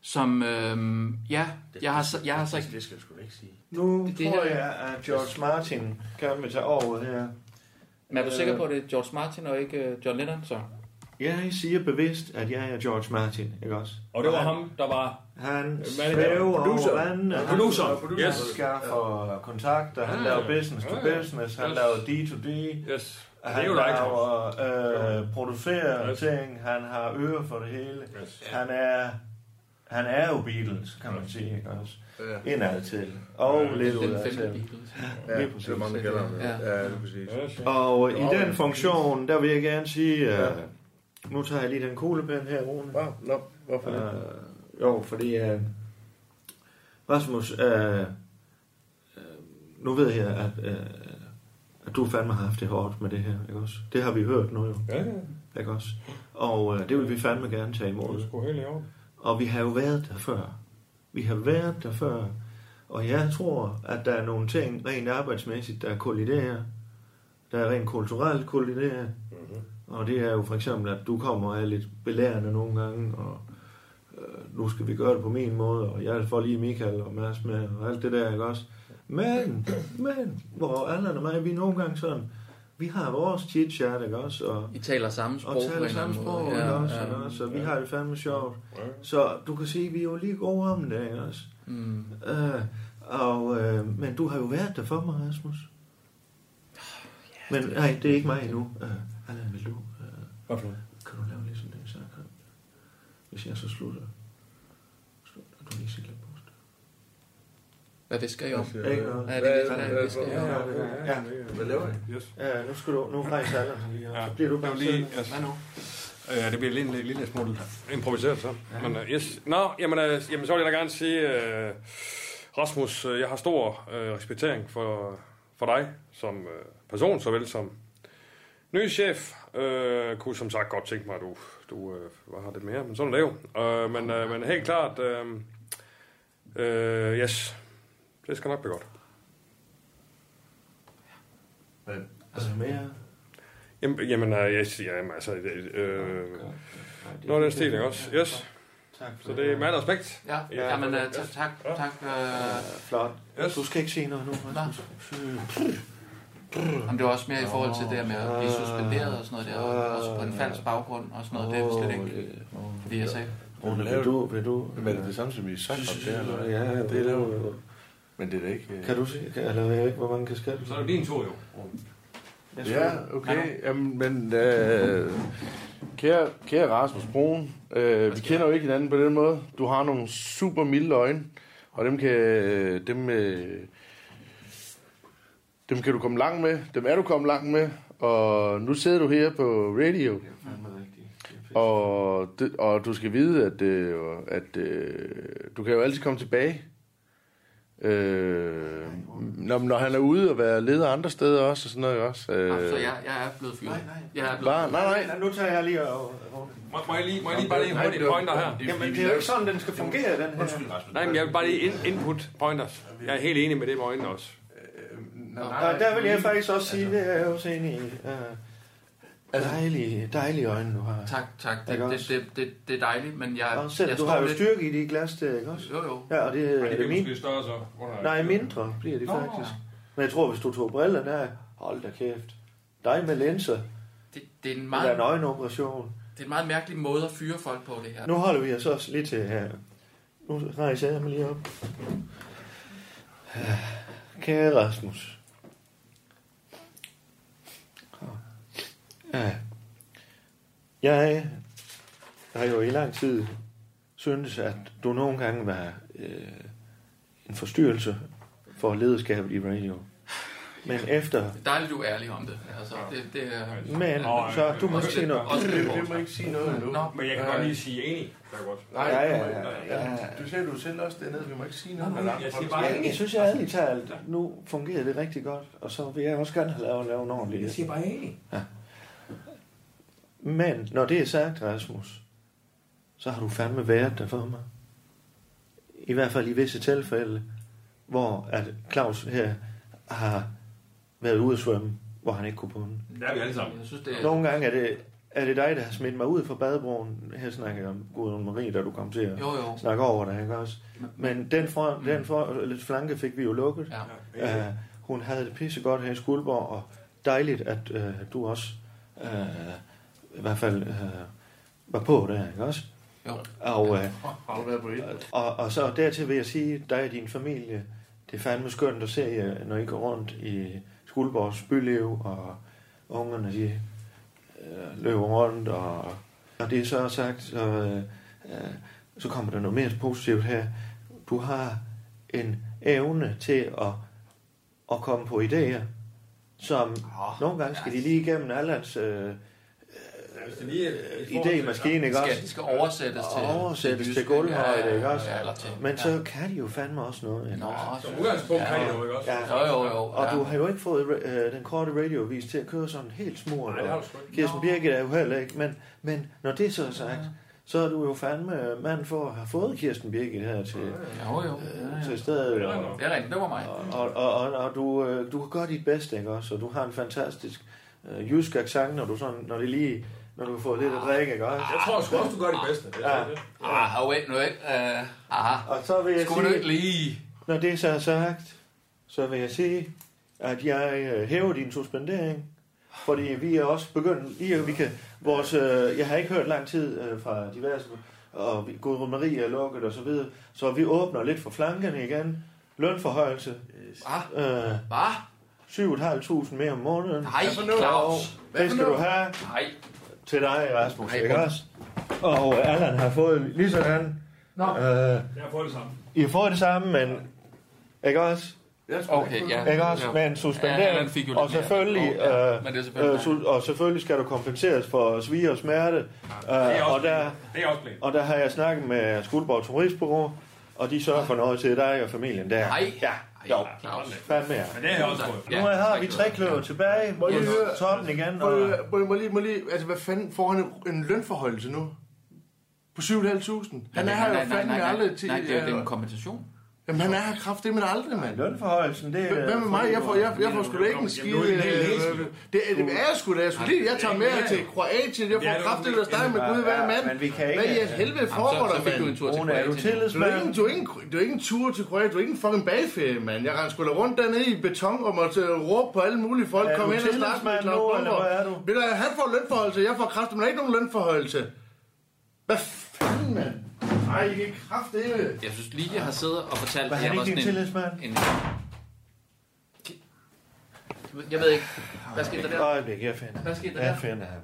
[SPEAKER 10] som, øhm, ja, jeg har, jeg har sagt...
[SPEAKER 9] Altså, Det skal du sgu ikke sige.
[SPEAKER 2] Nu det,
[SPEAKER 10] Det
[SPEAKER 2] tror
[SPEAKER 10] her-
[SPEAKER 2] jeg, at George Martin gerne vil tage over her.
[SPEAKER 10] Men er du sikker på, at det er George Martin og ikke øh, John Lennon, så?
[SPEAKER 2] Jeg siger bevidst, at jeg er George Martin, ikke også?
[SPEAKER 8] Og det var
[SPEAKER 2] han,
[SPEAKER 8] ham, der var...
[SPEAKER 2] Han
[SPEAKER 8] manager,
[SPEAKER 2] svæver over
[SPEAKER 8] producer.
[SPEAKER 2] vandet.
[SPEAKER 8] Ja,
[SPEAKER 2] han-
[SPEAKER 8] producer,
[SPEAKER 2] Han
[SPEAKER 8] yes.
[SPEAKER 2] skaffer kontakter. Han
[SPEAKER 8] Ja,
[SPEAKER 2] laver
[SPEAKER 8] ja.
[SPEAKER 2] business to
[SPEAKER 8] Ja, ja.
[SPEAKER 2] business. Han
[SPEAKER 8] Yes.
[SPEAKER 2] laver D2D.
[SPEAKER 8] Yes.
[SPEAKER 2] Han
[SPEAKER 8] Det er jo dig,
[SPEAKER 2] laver, øh, producerer
[SPEAKER 8] Yes.
[SPEAKER 2] ting. Han har øre for det hele.
[SPEAKER 8] Yes.
[SPEAKER 2] Han er... Han er jo Beatles, kan man sige, ikke også? Indad til. Og
[SPEAKER 9] Ja.
[SPEAKER 2] lidt
[SPEAKER 9] Den
[SPEAKER 2] udad
[SPEAKER 9] femte
[SPEAKER 2] til.
[SPEAKER 9] Beatles. Ja, det er mange, der kalder ham det. Ja, det er præcis.
[SPEAKER 2] Og øh, i
[SPEAKER 9] Jo,
[SPEAKER 2] den funktion, der vil jeg gerne sige,
[SPEAKER 9] Ja.
[SPEAKER 2] øh, nu tager jeg lige den kuglepen her, Rune.
[SPEAKER 9] Wow, no, hvorfor det?
[SPEAKER 2] Øh, jo, fordi øh, Rasmus, øh, øh, nu ved jeg, at, øh, at du fandme har haft det hårdt med det her, ikke også? Det har vi hørt nu jo.
[SPEAKER 8] Ja, ja.
[SPEAKER 2] Ikke også? Og øh, det vil vi fandme gerne tage imod.
[SPEAKER 8] Det skulle helt i orden.
[SPEAKER 2] Og vi har jo været der før. Vi har været der før. Og jeg tror, at der er nogle ting rent arbejdsmæssigt, der kolliderer. Der er rent kulturelt kolliderer. Mm-hmm. Og det er jo for eksempel, at du kommer og er lidt belærende nogle gange, og øh, nu skal vi gøre det på min måde, og jeg får lige Michael og Mads med, og alt det der, ikke også? Men, men, hvor Allan og mig, vi er nogle gange sådan, vi har vores chit-chat, ikke også? Og,
[SPEAKER 10] I taler samme sprog.
[SPEAKER 2] og taler samme sprog, ja, ikke også, ja, også, så vi har det fandme sjovt. Så du kan sige, vi er jo lige gode om det, ikke også?
[SPEAKER 10] Mm.
[SPEAKER 2] Øh, og, øh, men du har jo været der for mig, Rasmus. Men nej, det er ikke mig endnu. Øh, Allan, vil du... Øh,
[SPEAKER 8] Hvorfor?
[SPEAKER 2] Kan du lave ligesom lige sådan en sang her? Hvis jeg så slutter, slutter du lige sit lidt bort.
[SPEAKER 10] Hvad visker I om?
[SPEAKER 2] Ja, ikke noget.
[SPEAKER 10] Ja, det visker, jeg, visker I om.
[SPEAKER 2] Ja.
[SPEAKER 9] Hvad laver I?
[SPEAKER 8] Yes.
[SPEAKER 2] Ja, nu skal du... Nu rejser Allan lige, og så bliver du
[SPEAKER 8] Jeg
[SPEAKER 2] bare
[SPEAKER 8] vil lige...
[SPEAKER 2] siddende.
[SPEAKER 8] Yes. Hvad nu? Øh, det bliver lidt en lille smule improviseret, så. Ja. Men, uh, yes. Nå, jamen, uh, jamen, så vil jeg da gerne sige, uh, Rasmus, uh, jeg har stor uh, respektering for, for dig som uh, person, såvel som ny chef. Uh, kunne som sagt godt tænke mig, at du, du uh, var her lidt mere, men sådan er det jo. Uh, men, uh, men helt klart, uh, uh, yes, det skal nok blive godt.
[SPEAKER 2] Altså mere...
[SPEAKER 8] Jamen, jamen, øh, jeg siger, jamen, altså, øh, øh,
[SPEAKER 2] det-
[SPEAKER 8] noget af den stil, ikke også? Yes.
[SPEAKER 2] Tak
[SPEAKER 8] Så det er med al respekt.
[SPEAKER 10] Ja,
[SPEAKER 8] Ja,
[SPEAKER 10] ja men
[SPEAKER 8] ja.
[SPEAKER 10] tak, tak, tak. Øh,
[SPEAKER 2] Flot.
[SPEAKER 8] Yes.
[SPEAKER 2] Du skal ikke se noget nu, Rasmus.
[SPEAKER 10] jamen, det var også mere i forhold til det her med at blive suspenderet og sådan noget der, og også på en falsk baggrund og sådan noget, det er slet ikke, fordi jeg sagde.
[SPEAKER 2] Rune, vil du... Vil du
[SPEAKER 9] Men er det det samme som i sagt om det, eller hvad?
[SPEAKER 2] Ja,
[SPEAKER 9] det er det jo. Men det er da ikke... øh,
[SPEAKER 2] Kan du se... Kan, eller jeg ved ikke, hvor mange kasketter...
[SPEAKER 8] Så er det din tur, jo.
[SPEAKER 2] Jeg skal-
[SPEAKER 9] Ja, okay. Jamen, men øh, kære, kære Rasmus Broen, øh, vi kender jo ikke hinanden på den måde. Du har nogle super milde øjne, og dem kan, øh, dem, øh, dem kan du komme langt med. Dem er du kommet langt med, og nu sidder du her på radio. Og, det, og du skal vide, at, øh, at øh, du kan jo altid komme tilbage. Øh, når, når han er ude og være leder andre steder også, og sådan noget også. Øh,
[SPEAKER 10] Så jeg, jeg er blevet fyret. Jeg er blevet
[SPEAKER 9] Bare, nej, nej.
[SPEAKER 2] Ja, nu tager jeg lige og... og-
[SPEAKER 8] Må, må jeg lige, må jeg lige bare lige hurtigt pointer her?
[SPEAKER 2] Jamen, det er jo ikke sådan, den skal fungere, den her.
[SPEAKER 8] Nej, men jeg vil bare lige in, input pointers. Jeg er helt enig med det med øjnene også.
[SPEAKER 2] Og der vil jeg faktisk også sige, det er jeg også enig i. Øh, Dejlige, dejlige øjne, du har.
[SPEAKER 10] Tak, tak. Det,
[SPEAKER 2] Ikke
[SPEAKER 10] det,
[SPEAKER 2] også?
[SPEAKER 10] det, det, det er dejligt, men jeg,
[SPEAKER 2] Og selv,
[SPEAKER 10] jeg
[SPEAKER 2] du
[SPEAKER 10] står
[SPEAKER 2] har jo
[SPEAKER 10] lidt-
[SPEAKER 2] styrke i de glas der, ikke også?
[SPEAKER 10] Jo, jo.
[SPEAKER 2] Ja, og det, er det min...
[SPEAKER 8] større så.
[SPEAKER 2] Nej, mindre bliver de
[SPEAKER 10] Nå,
[SPEAKER 2] faktisk. Men jeg tror, hvis du tog briller der, hold da kæft. Dig med linser,
[SPEAKER 10] Det, det, er en
[SPEAKER 2] eller
[SPEAKER 10] meget,
[SPEAKER 2] en øjenoperation.
[SPEAKER 10] det er en meget mærkelig måde at fyre folk på, det her.
[SPEAKER 2] Nu holder vi os også lige til her. Nu rejser jeg mig lige op. Kære Rasmus. Ja. Jeg har jo i lang tid syntes, at du nogle gange var øh, en forstyrrelse for lederskabet i radio. Men efter...
[SPEAKER 10] Det er dejligt, du er ærlig om det. Altså, det, det er...
[SPEAKER 2] Men, så du må ikke sige noget.
[SPEAKER 10] Også lidt
[SPEAKER 9] Du må ikke sige noget endnu.
[SPEAKER 10] Nå,
[SPEAKER 8] Men jeg kan godt lige sige enig. Det er godt.
[SPEAKER 9] Nej,
[SPEAKER 2] Ja, ja,
[SPEAKER 9] du må ikke.
[SPEAKER 2] ja, ja.
[SPEAKER 9] Du sagde du selv også dernede, vi må ikke sige noget.
[SPEAKER 8] Nå,
[SPEAKER 9] med
[SPEAKER 8] nej,
[SPEAKER 9] andre
[SPEAKER 8] jeg siger
[SPEAKER 9] folk.
[SPEAKER 8] bare-
[SPEAKER 2] Jeg, jeg synes, jeg ærligt talt, nu fungerer det rigtig godt, og så vil jeg også gerne have lavet, lavet en ordentlig
[SPEAKER 7] siger bare enig.
[SPEAKER 2] Men når det er sagt, Rasmus, så har du fandme været der for mig. I hvert fald i visse tilfælde, hvor at Claus her har været ude at svømme, hvor han ikke kunne bunde.
[SPEAKER 8] Det er vi alle sammen.
[SPEAKER 10] Jeg synes, det er...
[SPEAKER 2] Nogle gange er det er det dig, der har smidt mig ud fra badebroen? Her snakker jeg om Gudrun Marie, da du kom til at
[SPEAKER 10] Jo, jo.
[SPEAKER 2] snakke over det, ikke også? Men den, for, mm. den for, eller flanke fik vi jo lukket.
[SPEAKER 10] Ja.
[SPEAKER 2] Uh, hun havde det pissegodt her i Skuldborg, og dejligt, at uh, du også uh, i hvert fald uh, var på der, ikke også?
[SPEAKER 10] Jo.
[SPEAKER 2] Og, uh,
[SPEAKER 9] Har du været på det?
[SPEAKER 2] og, og så dertil vil jeg sige, dig og din familie, det er fandme skønt at se, jer, når I går rundt i Skuldborgs byliv, og ungerne de øh, løber rundt, og når det er så sagt, så, øh, øh, så kommer der noget mere positivt her. Du har en evne til at, at komme på idéer, som oh, nogle gange skal de lige igennem alderens øh, idémaskine, ikke
[SPEAKER 10] skal,
[SPEAKER 2] også?
[SPEAKER 10] Det skal oversættes til...
[SPEAKER 2] oversættes til,
[SPEAKER 10] jysk,
[SPEAKER 2] gulvhøjde,
[SPEAKER 10] ja,
[SPEAKER 2] ikke også?
[SPEAKER 10] Ja, eller til...
[SPEAKER 2] Men så kan de jo fandme også noget. ikke også?
[SPEAKER 10] Som udgangspunkt kan de jo, ikke også? Jo, jo, jo,
[SPEAKER 2] Og
[SPEAKER 10] ja.
[SPEAKER 2] du har jo ikke fået øh, den korte radiovis til at køre sådan helt smurt.
[SPEAKER 10] Nej, det har
[SPEAKER 2] og
[SPEAKER 10] du sgu ikke.
[SPEAKER 2] Kirsten Birgit er jo heller ikke. Men, men når det så er sagt, så er du jo fandme øh, mand for at have fået Kirsten Birgit her til,
[SPEAKER 10] Jo, jo. Ja, ja.
[SPEAKER 2] til stedet.
[SPEAKER 10] Det er
[SPEAKER 2] og-
[SPEAKER 10] rigtigt. Det er rigtigt, det var mig.
[SPEAKER 2] og, og, og, og du, øh, du kan gøre dit bedste, ikke også? Og du har en fantastisk øh, jysk accent, når du sådan, når det lige, når du får lidt at drikke, ikke også?
[SPEAKER 7] Jeg tror sgu også, du gør dit bedste. Det er
[SPEAKER 2] Ja.
[SPEAKER 7] det.
[SPEAKER 10] Ah, wait, nu ikke. Uh, aha.
[SPEAKER 2] Og så vil jeg
[SPEAKER 10] Skulle
[SPEAKER 2] sige-
[SPEAKER 10] du ikke lige...
[SPEAKER 2] Når det så er sagt, så vil jeg sige, at jeg øh, hæver din suspendering, fordi vi er også begyndt lige, at vi kan, vores, øh, jeg har ikke hørt lang tid øh, fra diverse, og vi- Gudrun Marie er lukket og så videre, så vi åbner lidt for flankerne igen. Lønforhøjelse.
[SPEAKER 10] Ah,
[SPEAKER 2] Øh,
[SPEAKER 10] Hvad?
[SPEAKER 2] 7.500 mere om måneden.
[SPEAKER 10] Nej, Claus.
[SPEAKER 2] Det skal du have
[SPEAKER 10] Nej.
[SPEAKER 2] til dig, Rasmus,
[SPEAKER 10] Nej,
[SPEAKER 2] ikke
[SPEAKER 10] hvor-
[SPEAKER 2] også? Og øh, Allan har fået lige sådan.
[SPEAKER 7] Nå.
[SPEAKER 2] Øh,
[SPEAKER 7] Jeg har fået det samme.
[SPEAKER 2] I har fået det samme, men ikke også?
[SPEAKER 10] Okay, ja.
[SPEAKER 2] Ikke også?
[SPEAKER 10] Jo.
[SPEAKER 2] Med en
[SPEAKER 10] Ja,
[SPEAKER 2] suspendering.
[SPEAKER 10] han fik jo
[SPEAKER 2] og,
[SPEAKER 10] lidt mere.
[SPEAKER 2] selvfølgelig,
[SPEAKER 10] Jo, ja.
[SPEAKER 2] øh,
[SPEAKER 10] Men det er selvfølgelig-
[SPEAKER 2] øh, su- og selvfølgelig skal du kompenseres for svige og smerte.
[SPEAKER 8] er
[SPEAKER 2] Øh,
[SPEAKER 8] også
[SPEAKER 2] og, der,
[SPEAKER 8] Det er også planen.
[SPEAKER 2] og der har jeg snakket med Skuldborg Turistbureau, og de sørger for noget til dig og familien der.
[SPEAKER 10] Ah. Nej.
[SPEAKER 2] Ja, jo.
[SPEAKER 10] Claus.
[SPEAKER 2] Fandme med jer.
[SPEAKER 8] Men det er jeg også prøvet.
[SPEAKER 2] Nu har vi tre kløver tilbage. Må I
[SPEAKER 9] Yes.
[SPEAKER 2] høre toppen igen?
[SPEAKER 9] Må,
[SPEAKER 2] Og,
[SPEAKER 9] jeg- må, jeg- må, jeg lige, må jeg lige, altså hvad fanden, får han en, en lønforhøjelse nu? På 7.500? Han er
[SPEAKER 10] Nej,
[SPEAKER 9] her
[SPEAKER 10] nej,
[SPEAKER 9] jo
[SPEAKER 10] nej,
[SPEAKER 9] fandme
[SPEAKER 10] nej,
[SPEAKER 9] aldrig til...
[SPEAKER 10] Nej, det er jo det er en
[SPEAKER 9] øh,
[SPEAKER 10] kompensation.
[SPEAKER 9] Jamen han er her kraftedeme aldrig, mand.
[SPEAKER 2] lønforhøjelsen, det er...
[SPEAKER 9] Hvad med mig? Jeg får, jeg, jeg får sgu da ikke en skide... øh, Det, det er jeg sgu da. Jeg, skulle lige, jeg tager med her til Kroatien. Jeg får kraftigt at snakke med Gud hver mand.
[SPEAKER 2] Men vi kan ikke...
[SPEAKER 9] Hvad i et helvede foregår
[SPEAKER 10] så
[SPEAKER 9] der,
[SPEAKER 10] fik du en
[SPEAKER 9] mand?
[SPEAKER 10] tur til
[SPEAKER 2] Rune, er du
[SPEAKER 10] Kroatien.
[SPEAKER 9] Du er,
[SPEAKER 2] tillidsmand?
[SPEAKER 9] ikke, du, er ikke, en- du er ikke en tur til Kroatien, du er ikke en fucking bagferie, mand. Jeg rendte sgu da rundt dernede i beton og måtte øh, råbe på alle mulige folk.
[SPEAKER 2] Er
[SPEAKER 9] Kom
[SPEAKER 2] du
[SPEAKER 9] ind og snak med
[SPEAKER 2] tillidsmand
[SPEAKER 9] Claus
[SPEAKER 2] nu, eller
[SPEAKER 9] Bumper.
[SPEAKER 2] hvad er du?
[SPEAKER 9] Ved du, hvad, han får lønforholdelse, jeg får kraft, men der er ikke nogen lønforholdelse. Hvad fanden, mand? Ej, I kan kraft det.
[SPEAKER 10] Jeg synes lige, jeg har siddet og fortalt,
[SPEAKER 2] Var
[SPEAKER 10] at
[SPEAKER 2] han
[SPEAKER 10] jeg var
[SPEAKER 2] ikke din
[SPEAKER 10] sådan en...
[SPEAKER 2] tillidsmand?
[SPEAKER 10] en jeg ved ikke. Hvad skete der
[SPEAKER 2] Et
[SPEAKER 10] der?
[SPEAKER 2] øjeblik, jeg finder.
[SPEAKER 10] Hvad skete der
[SPEAKER 2] Jeg
[SPEAKER 10] der?
[SPEAKER 2] finder ham.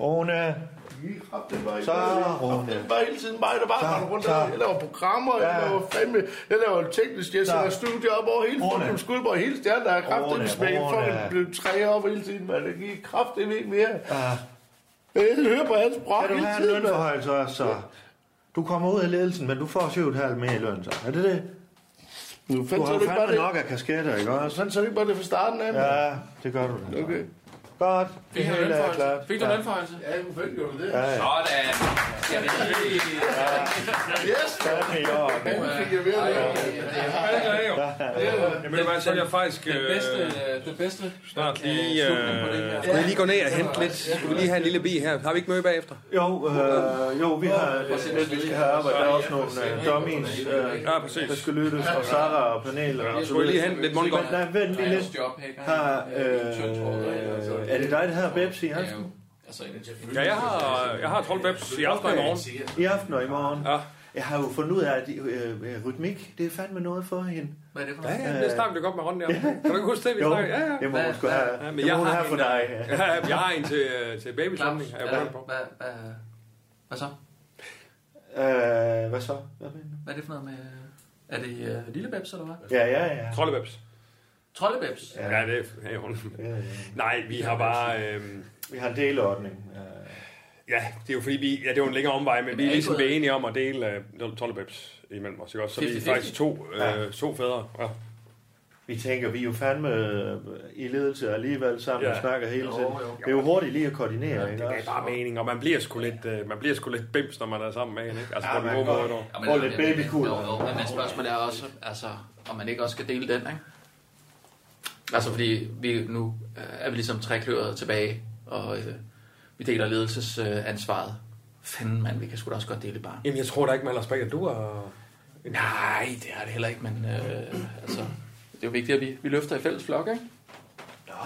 [SPEAKER 2] Rune,
[SPEAKER 9] Så
[SPEAKER 2] så Rune.
[SPEAKER 9] Det var hele tiden mig, der bare
[SPEAKER 2] Så-
[SPEAKER 9] rendte rundt.
[SPEAKER 2] så-
[SPEAKER 9] Jeg laver programmer, jeg
[SPEAKER 2] Ja.
[SPEAKER 9] laver fandme, jeg laver teknisk, jeg
[SPEAKER 2] Så-
[SPEAKER 9] sætter studier op over hele
[SPEAKER 2] Rune.
[SPEAKER 9] fucking skuldborg, hele stjernen, der er
[SPEAKER 2] Rune,
[SPEAKER 9] kraftigt smæk,
[SPEAKER 2] Rune.
[SPEAKER 9] fucking blev træer op hele tiden, mand. Jeg gik kraftigt ikke mere.
[SPEAKER 2] Ah,
[SPEAKER 9] Jeg hører på hans brok
[SPEAKER 2] Kan du
[SPEAKER 9] hele
[SPEAKER 2] have en
[SPEAKER 9] tiden, mand.
[SPEAKER 2] lønforhøjelse også, så? Du kommer ud af ledelsen, men du får 7,5 mere i løn, så. Er det det?
[SPEAKER 9] Nu
[SPEAKER 2] Du
[SPEAKER 9] fandt
[SPEAKER 2] har
[SPEAKER 9] så
[SPEAKER 2] jo
[SPEAKER 9] det ikke bare
[SPEAKER 2] fandme
[SPEAKER 9] det.
[SPEAKER 2] nok af kasketter, ikke også?
[SPEAKER 9] Sådan så det ikke bare det fra starten af, mand.
[SPEAKER 2] Ja, det gør du da.
[SPEAKER 9] Okay.
[SPEAKER 2] Godt, det
[SPEAKER 10] Fik han
[SPEAKER 2] hele er øh, klart.
[SPEAKER 10] lønforhøjelse? Fik du
[SPEAKER 2] Ja.
[SPEAKER 10] lønforhøjelse?
[SPEAKER 9] Ja, selvfølgelig gjorde du det.
[SPEAKER 2] Ja, ja.
[SPEAKER 10] Sådan. Skal vi lige...
[SPEAKER 9] Yes, mand.
[SPEAKER 2] Fandme i orden.
[SPEAKER 9] Fanden fik jeg ved det.
[SPEAKER 8] Ja, det er jeg jo. Jamen, det var, så vil jeg faktisk
[SPEAKER 10] Det
[SPEAKER 8] øh,
[SPEAKER 10] bedste, øh, det bedste
[SPEAKER 8] snart lige...
[SPEAKER 10] slutning på det her.
[SPEAKER 8] Øh, skal vi lige gå ned og hente lidt? Skal vi lige have en lille bi her? Har vi ikke møde bagefter?
[SPEAKER 2] Jo, øh, jo, vi har lidt, lidt, vi skal have arbejde. Der er også nogle øh, dummies, øh,
[SPEAKER 8] Ja,
[SPEAKER 2] der
[SPEAKER 8] præcis.
[SPEAKER 2] skal lyttes, og Sara og panelet og så
[SPEAKER 8] Skal vi lige
[SPEAKER 2] videre.
[SPEAKER 8] hente lidt mundgård?
[SPEAKER 2] Men nej, vent lige lidt.
[SPEAKER 10] job, ikke?
[SPEAKER 2] Har, øh,
[SPEAKER 10] øh,
[SPEAKER 2] er det dig, der har Pepsi i aften?
[SPEAKER 10] Altså,
[SPEAKER 8] Ja, jeg har, jeg har troldwebs i aften og i morgen.
[SPEAKER 2] I aften og i morgen?
[SPEAKER 8] Ja.
[SPEAKER 2] Jeg har jo fundet ud af, at øh, øh, rytmik, det er fandme noget for hende.
[SPEAKER 10] Hvad er det for
[SPEAKER 8] Ja,
[SPEAKER 10] noget?
[SPEAKER 8] ja, det snakker vi godt med Ronny om. Kan du ikke huske det, vi
[SPEAKER 2] Jo,
[SPEAKER 8] snakker? Ja, ja.
[SPEAKER 2] det må hun sgu
[SPEAKER 8] Ja,
[SPEAKER 2] have.
[SPEAKER 8] men
[SPEAKER 2] Det
[SPEAKER 8] jeg
[SPEAKER 2] må hun
[SPEAKER 8] har
[SPEAKER 2] have for
[SPEAKER 8] en,
[SPEAKER 2] dig.
[SPEAKER 8] Ja, Jeg har en til, øh, til babysamling.
[SPEAKER 10] Claus,
[SPEAKER 8] Jeg er på.
[SPEAKER 10] hvad, hvad, hvad så?
[SPEAKER 2] Øh, hvad så? Hvad mener du?
[SPEAKER 10] Hvad er det for noget med... Er det øh, lillebebs, eller hvad?
[SPEAKER 2] Ja, ja, ja.
[SPEAKER 8] Troldebebs.
[SPEAKER 10] Troldebebs?
[SPEAKER 8] Ja, det er ja, hun.
[SPEAKER 2] Ja, ja.
[SPEAKER 8] Nej, vi har bare... øhm,
[SPEAKER 2] Vi har en delordning. Øh,
[SPEAKER 8] Ja, det er jo fordi, vi, ja, det er jo en længere omvej, men vi er
[SPEAKER 10] er
[SPEAKER 8] ligesom
[SPEAKER 10] ikke noget-
[SPEAKER 8] blevet enige om at dele uh, Tollebabs imellem os, ikke også? Så vi er
[SPEAKER 10] 50-50.
[SPEAKER 8] faktisk to, øh, to fædre. Ja.
[SPEAKER 2] Vi tænker, vi er jo fandme øh, i ledelse alligevel sammen
[SPEAKER 8] Ja.
[SPEAKER 2] og snakker hele tiden.
[SPEAKER 10] jo.
[SPEAKER 2] Det er jo hurtigt lige at koordinere, ja, ikke
[SPEAKER 8] Det er
[SPEAKER 2] også?
[SPEAKER 8] bare mening, og man bliver sgu lidt, øh, man bliver sgu lidt bims, når man er sammen med hende, ikke? Altså
[SPEAKER 2] Ja,
[SPEAKER 8] på den
[SPEAKER 2] man
[SPEAKER 8] gode
[SPEAKER 2] går-
[SPEAKER 8] måde, dog.
[SPEAKER 10] Ja,
[SPEAKER 2] Og lidt babykutter.
[SPEAKER 10] Jo, jo, men spørgsmålet er også, altså, om man ikke også skal dele den, ikke? Altså fordi vi, nu øh, er vi ligesom trækløret tilbage, og øh, vi deler ledelsesansvaret. Fanden mand, vi kan sgu da også godt dele barn.
[SPEAKER 2] Jamen, jeg tror da ikke, man har spækker du og...
[SPEAKER 10] Nej, det har det heller ikke, men øh, altså, det er jo vigtigt, at vi, vi løfter i fælles flok, ikke?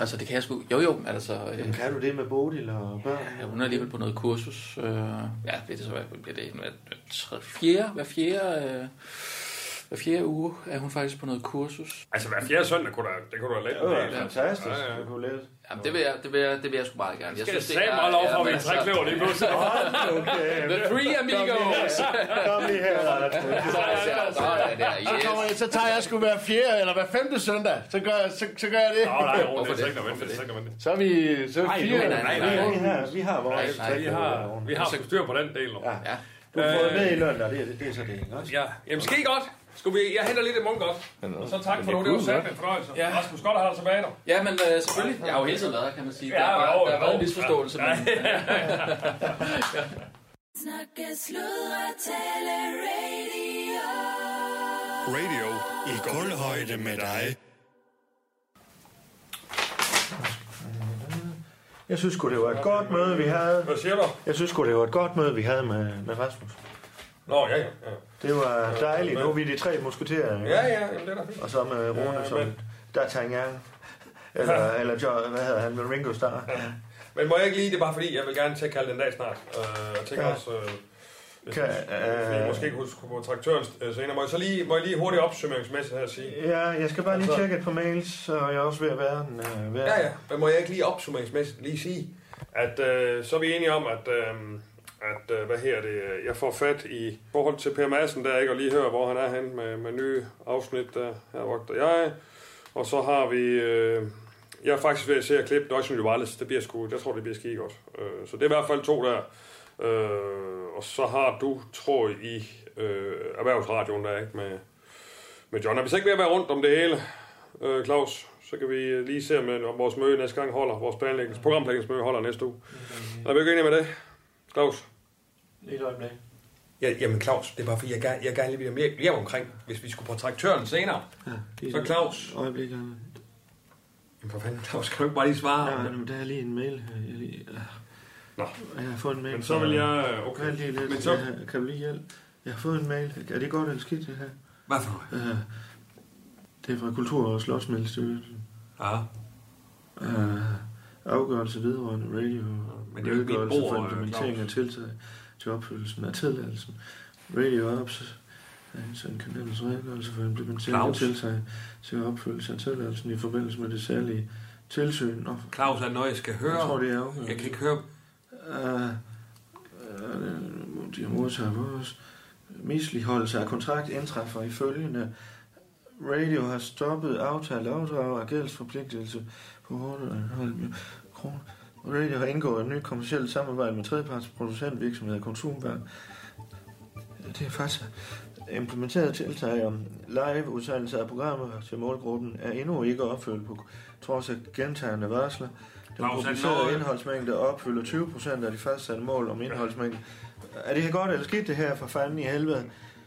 [SPEAKER 10] Altså, det kan jeg sgu. Jo, jo, men altså... Øh,
[SPEAKER 9] Jamen, kan du det med Bodil og børn?
[SPEAKER 10] Ja, hun er alligevel på noget kursus. Øh, ja, det er så, hvad bliver det? Hver, tre, fjerde, hver fjerde... Øh, hver fjerde uge er hun faktisk på noget kursus.
[SPEAKER 8] Altså hver fjerde søndag kunne der, det kunne du have
[SPEAKER 10] Ja, det var fantastisk.
[SPEAKER 8] Ja, ja.
[SPEAKER 9] kunne læse.
[SPEAKER 10] Jamen, det vil jeg, det vil jeg, det vil jeg sgu meget gerne.
[SPEAKER 8] Skal jeg satme holde over for, at vi er tre kløver lige pludselig?
[SPEAKER 10] Okay. altså, The three amigos.
[SPEAKER 9] Kom lige her, Anders.
[SPEAKER 10] Sådan, sådan der,
[SPEAKER 12] Så, kommer
[SPEAKER 10] yes.
[SPEAKER 12] jeg, så tager jeg sgu hver fjerde eller hver femte søndag. Så gør, jeg- så, så gør jeg det.
[SPEAKER 8] Nå, nej, Rune, det er sikkert nødvendigt. Det er sikkert
[SPEAKER 12] Så er vi så er
[SPEAKER 8] Nej,
[SPEAKER 12] vi
[SPEAKER 8] nej,
[SPEAKER 12] fire.
[SPEAKER 8] nej, nej, nej. Vi har-
[SPEAKER 9] vi har vores
[SPEAKER 8] Nej, nej, vi har, Øh. vi har sgu styr på den del nu.
[SPEAKER 9] Ja. Du har fået med i løn, og det, er- det, det er så det, ikke også?
[SPEAKER 8] Ja, jamen skal I godt? Skal vi, jeg henter lidt af munk også. Og så tak for nu, det var sandt en fornøjelse. Ja. Rasmus, godt at have dig tilbage nu.
[SPEAKER 10] Ja, men øh, selvfølgelig. Jeg har jo hele tiden været der, kan man sige.
[SPEAKER 8] Ja,
[SPEAKER 10] Der er
[SPEAKER 8] jo,
[SPEAKER 10] bare- der har
[SPEAKER 8] jo.
[SPEAKER 10] været en misforståelse.
[SPEAKER 8] Ja.
[SPEAKER 10] men-
[SPEAKER 4] Snakke, sludre, tale, radio.
[SPEAKER 3] Radio i guldhøjde med dig.
[SPEAKER 9] Jeg synes sgu, det var et godt møde, vi havde.
[SPEAKER 8] Hvad siger du?
[SPEAKER 9] Jeg synes sgu, det var et godt møde, vi havde med, med Rasmus.
[SPEAKER 8] Nå, ja, ja. ja.
[SPEAKER 9] Det var dejligt. Nu er vi de tre musketerer. ikke?
[SPEAKER 8] Ja, ja, jamen, det er da fint.
[SPEAKER 9] Og så med Rune som D'Artagnan.
[SPEAKER 8] <laughs>
[SPEAKER 9] Eller, eller jo, hvad hedder han, med Ringo Starr.
[SPEAKER 8] Men må jeg ikke lige, det er bare fordi, jeg vil gerne til at kalde den dag snart. Øh, jeg tænker
[SPEAKER 9] Ja.
[SPEAKER 8] også, øh, hvis
[SPEAKER 9] Kan-
[SPEAKER 8] hvis vi
[SPEAKER 9] øh,
[SPEAKER 8] måske kunne huske på traktøren øh, senere. Må jeg så lige, må jeg lige hurtigt opsummeringsmæssigt her sige?
[SPEAKER 9] Ja, jeg skal bare lige tjekke et par mails, og jeg er også ved at være den. Øh, ved at-
[SPEAKER 8] Ja, ja. Men må jeg ikke lige opsummeringsmæssigt lige sige, at øh, så er vi enige om, at, øh, at øh, hvad her det, øh, jeg får fat i forhold til Per Madsen, der ikke og lige hører, hvor han er henne med, med nye afsnit, der her vogter jeg. Og så har vi, øh, jeg er faktisk ved at se at klippe Deutsche New Wireless, det bliver sgu, jeg tror, det bliver skide godt. Øh, så det er i hvert fald to der. Øh, og så har du, tror jeg, i øh, erhvervsradioen der, ikke, med, med John. Er vi så ikke ved at være rundt om det hele, øh, Claus? Så kan vi øh, lige se, om, øh, om vores møde næste gang holder, vores planlægnings, programlægningsmøde holder næste uge. Er vi ikke enige med det, Claus?
[SPEAKER 9] Lige et øjeblik.
[SPEAKER 2] Ja, jamen Claus, det er bare fordi, jeg gerne, jeg gerne lige vil have mere, mere omkring, hvis vi skulle på traktøren senere.
[SPEAKER 9] det er
[SPEAKER 2] så
[SPEAKER 9] det.
[SPEAKER 2] Claus.
[SPEAKER 9] Øjeblik, Anna.
[SPEAKER 2] Jamen for fanden, Claus, kan du ikke bare lige svare?
[SPEAKER 9] Ja, men der er lige en mail her. Jeg, lige, øh,
[SPEAKER 8] Nå.
[SPEAKER 9] jeg har fået en mail.
[SPEAKER 8] Men så vil jeg- øh, okay.
[SPEAKER 9] Vent Lige lidt.
[SPEAKER 8] Men så-
[SPEAKER 9] Jeg, kan du lige hjælpe? Jeg har fået en mail. Er det godt eller skidt, det her?
[SPEAKER 2] Hvad for
[SPEAKER 9] noget? Øh, det er fra Kultur- og Slottsmiddelstyrelsen.
[SPEAKER 2] Ja.
[SPEAKER 9] Øh, afgørelse vedrørende radio.
[SPEAKER 2] men det er jo ikke mit
[SPEAKER 9] redegørelse
[SPEAKER 2] bord,
[SPEAKER 9] for
[SPEAKER 2] øh,
[SPEAKER 9] implementering af
[SPEAKER 2] Claus.
[SPEAKER 9] tiltag til opfyldelsen af tilladelsen. Radio Ops en kanalens redegørelse for implementering af
[SPEAKER 2] Claus.
[SPEAKER 9] tiltag til opfyldelse af tilladelsen i forbindelse med det særlige tilsyn. Og
[SPEAKER 2] Claus er noget, jeg skal høre.
[SPEAKER 9] Jeg tror, det er afhørt.
[SPEAKER 2] Jeg kan ikke høre.
[SPEAKER 9] Øh, øh, de modtager vores misligeholdelse af kontrakt indtræffer i følgende. Radio har stoppet aftale afdrag af gældsforpligtelse på 1,5 millioner kroner. Radio har indgået et nyt kommersielt samarbejde med tredjeparts producentvirksomheder og Konsumbank. Det er faktisk implementeret tiltag om live udsendelse af programmer til målgruppen er endnu ikke opfyldt på trods af gentagende varsler. Den
[SPEAKER 8] Claus, han
[SPEAKER 9] publicerede
[SPEAKER 8] nåede-
[SPEAKER 9] indholdsmængde opfylder 20 procent af de fastsatte mål om indholdsmængde. Er det her godt eller skidt det her for fanden i helvede?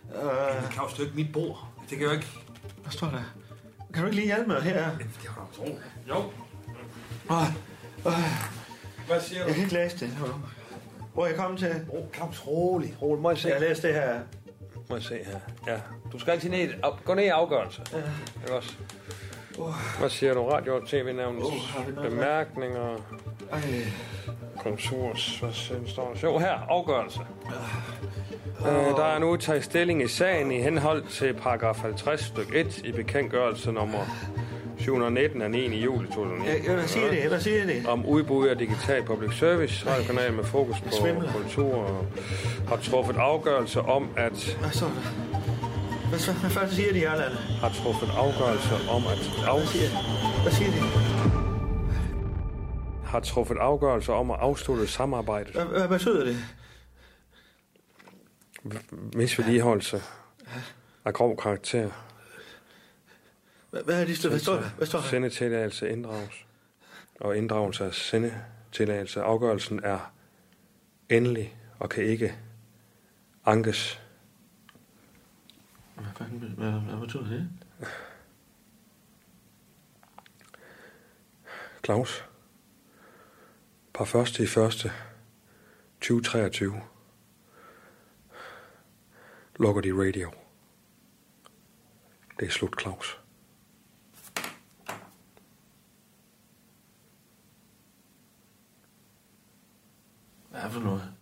[SPEAKER 9] Uh,
[SPEAKER 2] Claus, det er jo ikke mit bord. Det kan jeg jo ikke.
[SPEAKER 9] Hvad står der? Kan du ikke lige hjælpe mig her?
[SPEAKER 8] Jo.
[SPEAKER 9] Åh, åh,
[SPEAKER 8] Hvad siger
[SPEAKER 9] ah. jeg kan ikke læse det. Hvor er jeg kommet til?
[SPEAKER 2] Oh, Claus, rolig, rolig. Må jeg se?
[SPEAKER 9] Jeg har læst det her.
[SPEAKER 2] Må jeg se her? Ja. Du skal altid ned, af, gå ned i afgørelse. Ja. Ikke også? Hvad siger du? Radio og tv-nævnets
[SPEAKER 9] Uh, har vi noget
[SPEAKER 8] bemærkninger,
[SPEAKER 9] Ej,
[SPEAKER 8] konkurs, hvad siger står der? Jo, her, afgørelse. Øh, der er nu taget stilling i sagen i henhold til paragraf 50 stykke 1 i bekendtgørelse nummer 719 af 9. juli 2009.
[SPEAKER 9] jeg, jeg, hvad siger det? Hvad siger det?
[SPEAKER 8] om udbud af digital public service, radiokanal med fokus på
[SPEAKER 9] svimler.
[SPEAKER 8] kultur, og har truffet afgørelse om at
[SPEAKER 9] Hvad står der? Hvad, så, hvad fanden siger de, Jarland?
[SPEAKER 8] har truffet afgørelse om at af,
[SPEAKER 9] Hvad siger de?
[SPEAKER 8] har truffet afgørelse om at afslutte samarbejdet
[SPEAKER 9] Hvad, hvad betyder det?
[SPEAKER 8] misvedligeholdelse af grov karakter.
[SPEAKER 9] Hvad, hvad, er de, hvad står der? Hvad står der?
[SPEAKER 8] Sendetilladelse inddrages. Og inddragelse af sendetilladelse. Afgørelsen er endelig og kan ikke ankes.
[SPEAKER 9] Hvad, fanden, hvad, hvad betyder det?
[SPEAKER 8] Claus. Per første i første 2023 lukker de radio. Det er slut, Claus.
[SPEAKER 13] Hvad er for noget?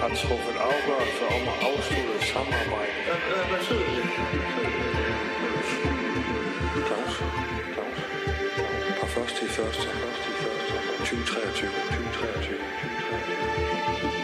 [SPEAKER 8] Har truffet afgørelse om at afslutte samarbejde. Hvad sidder det? Claus. Claus. Per første i første 2023. 2023. 2023.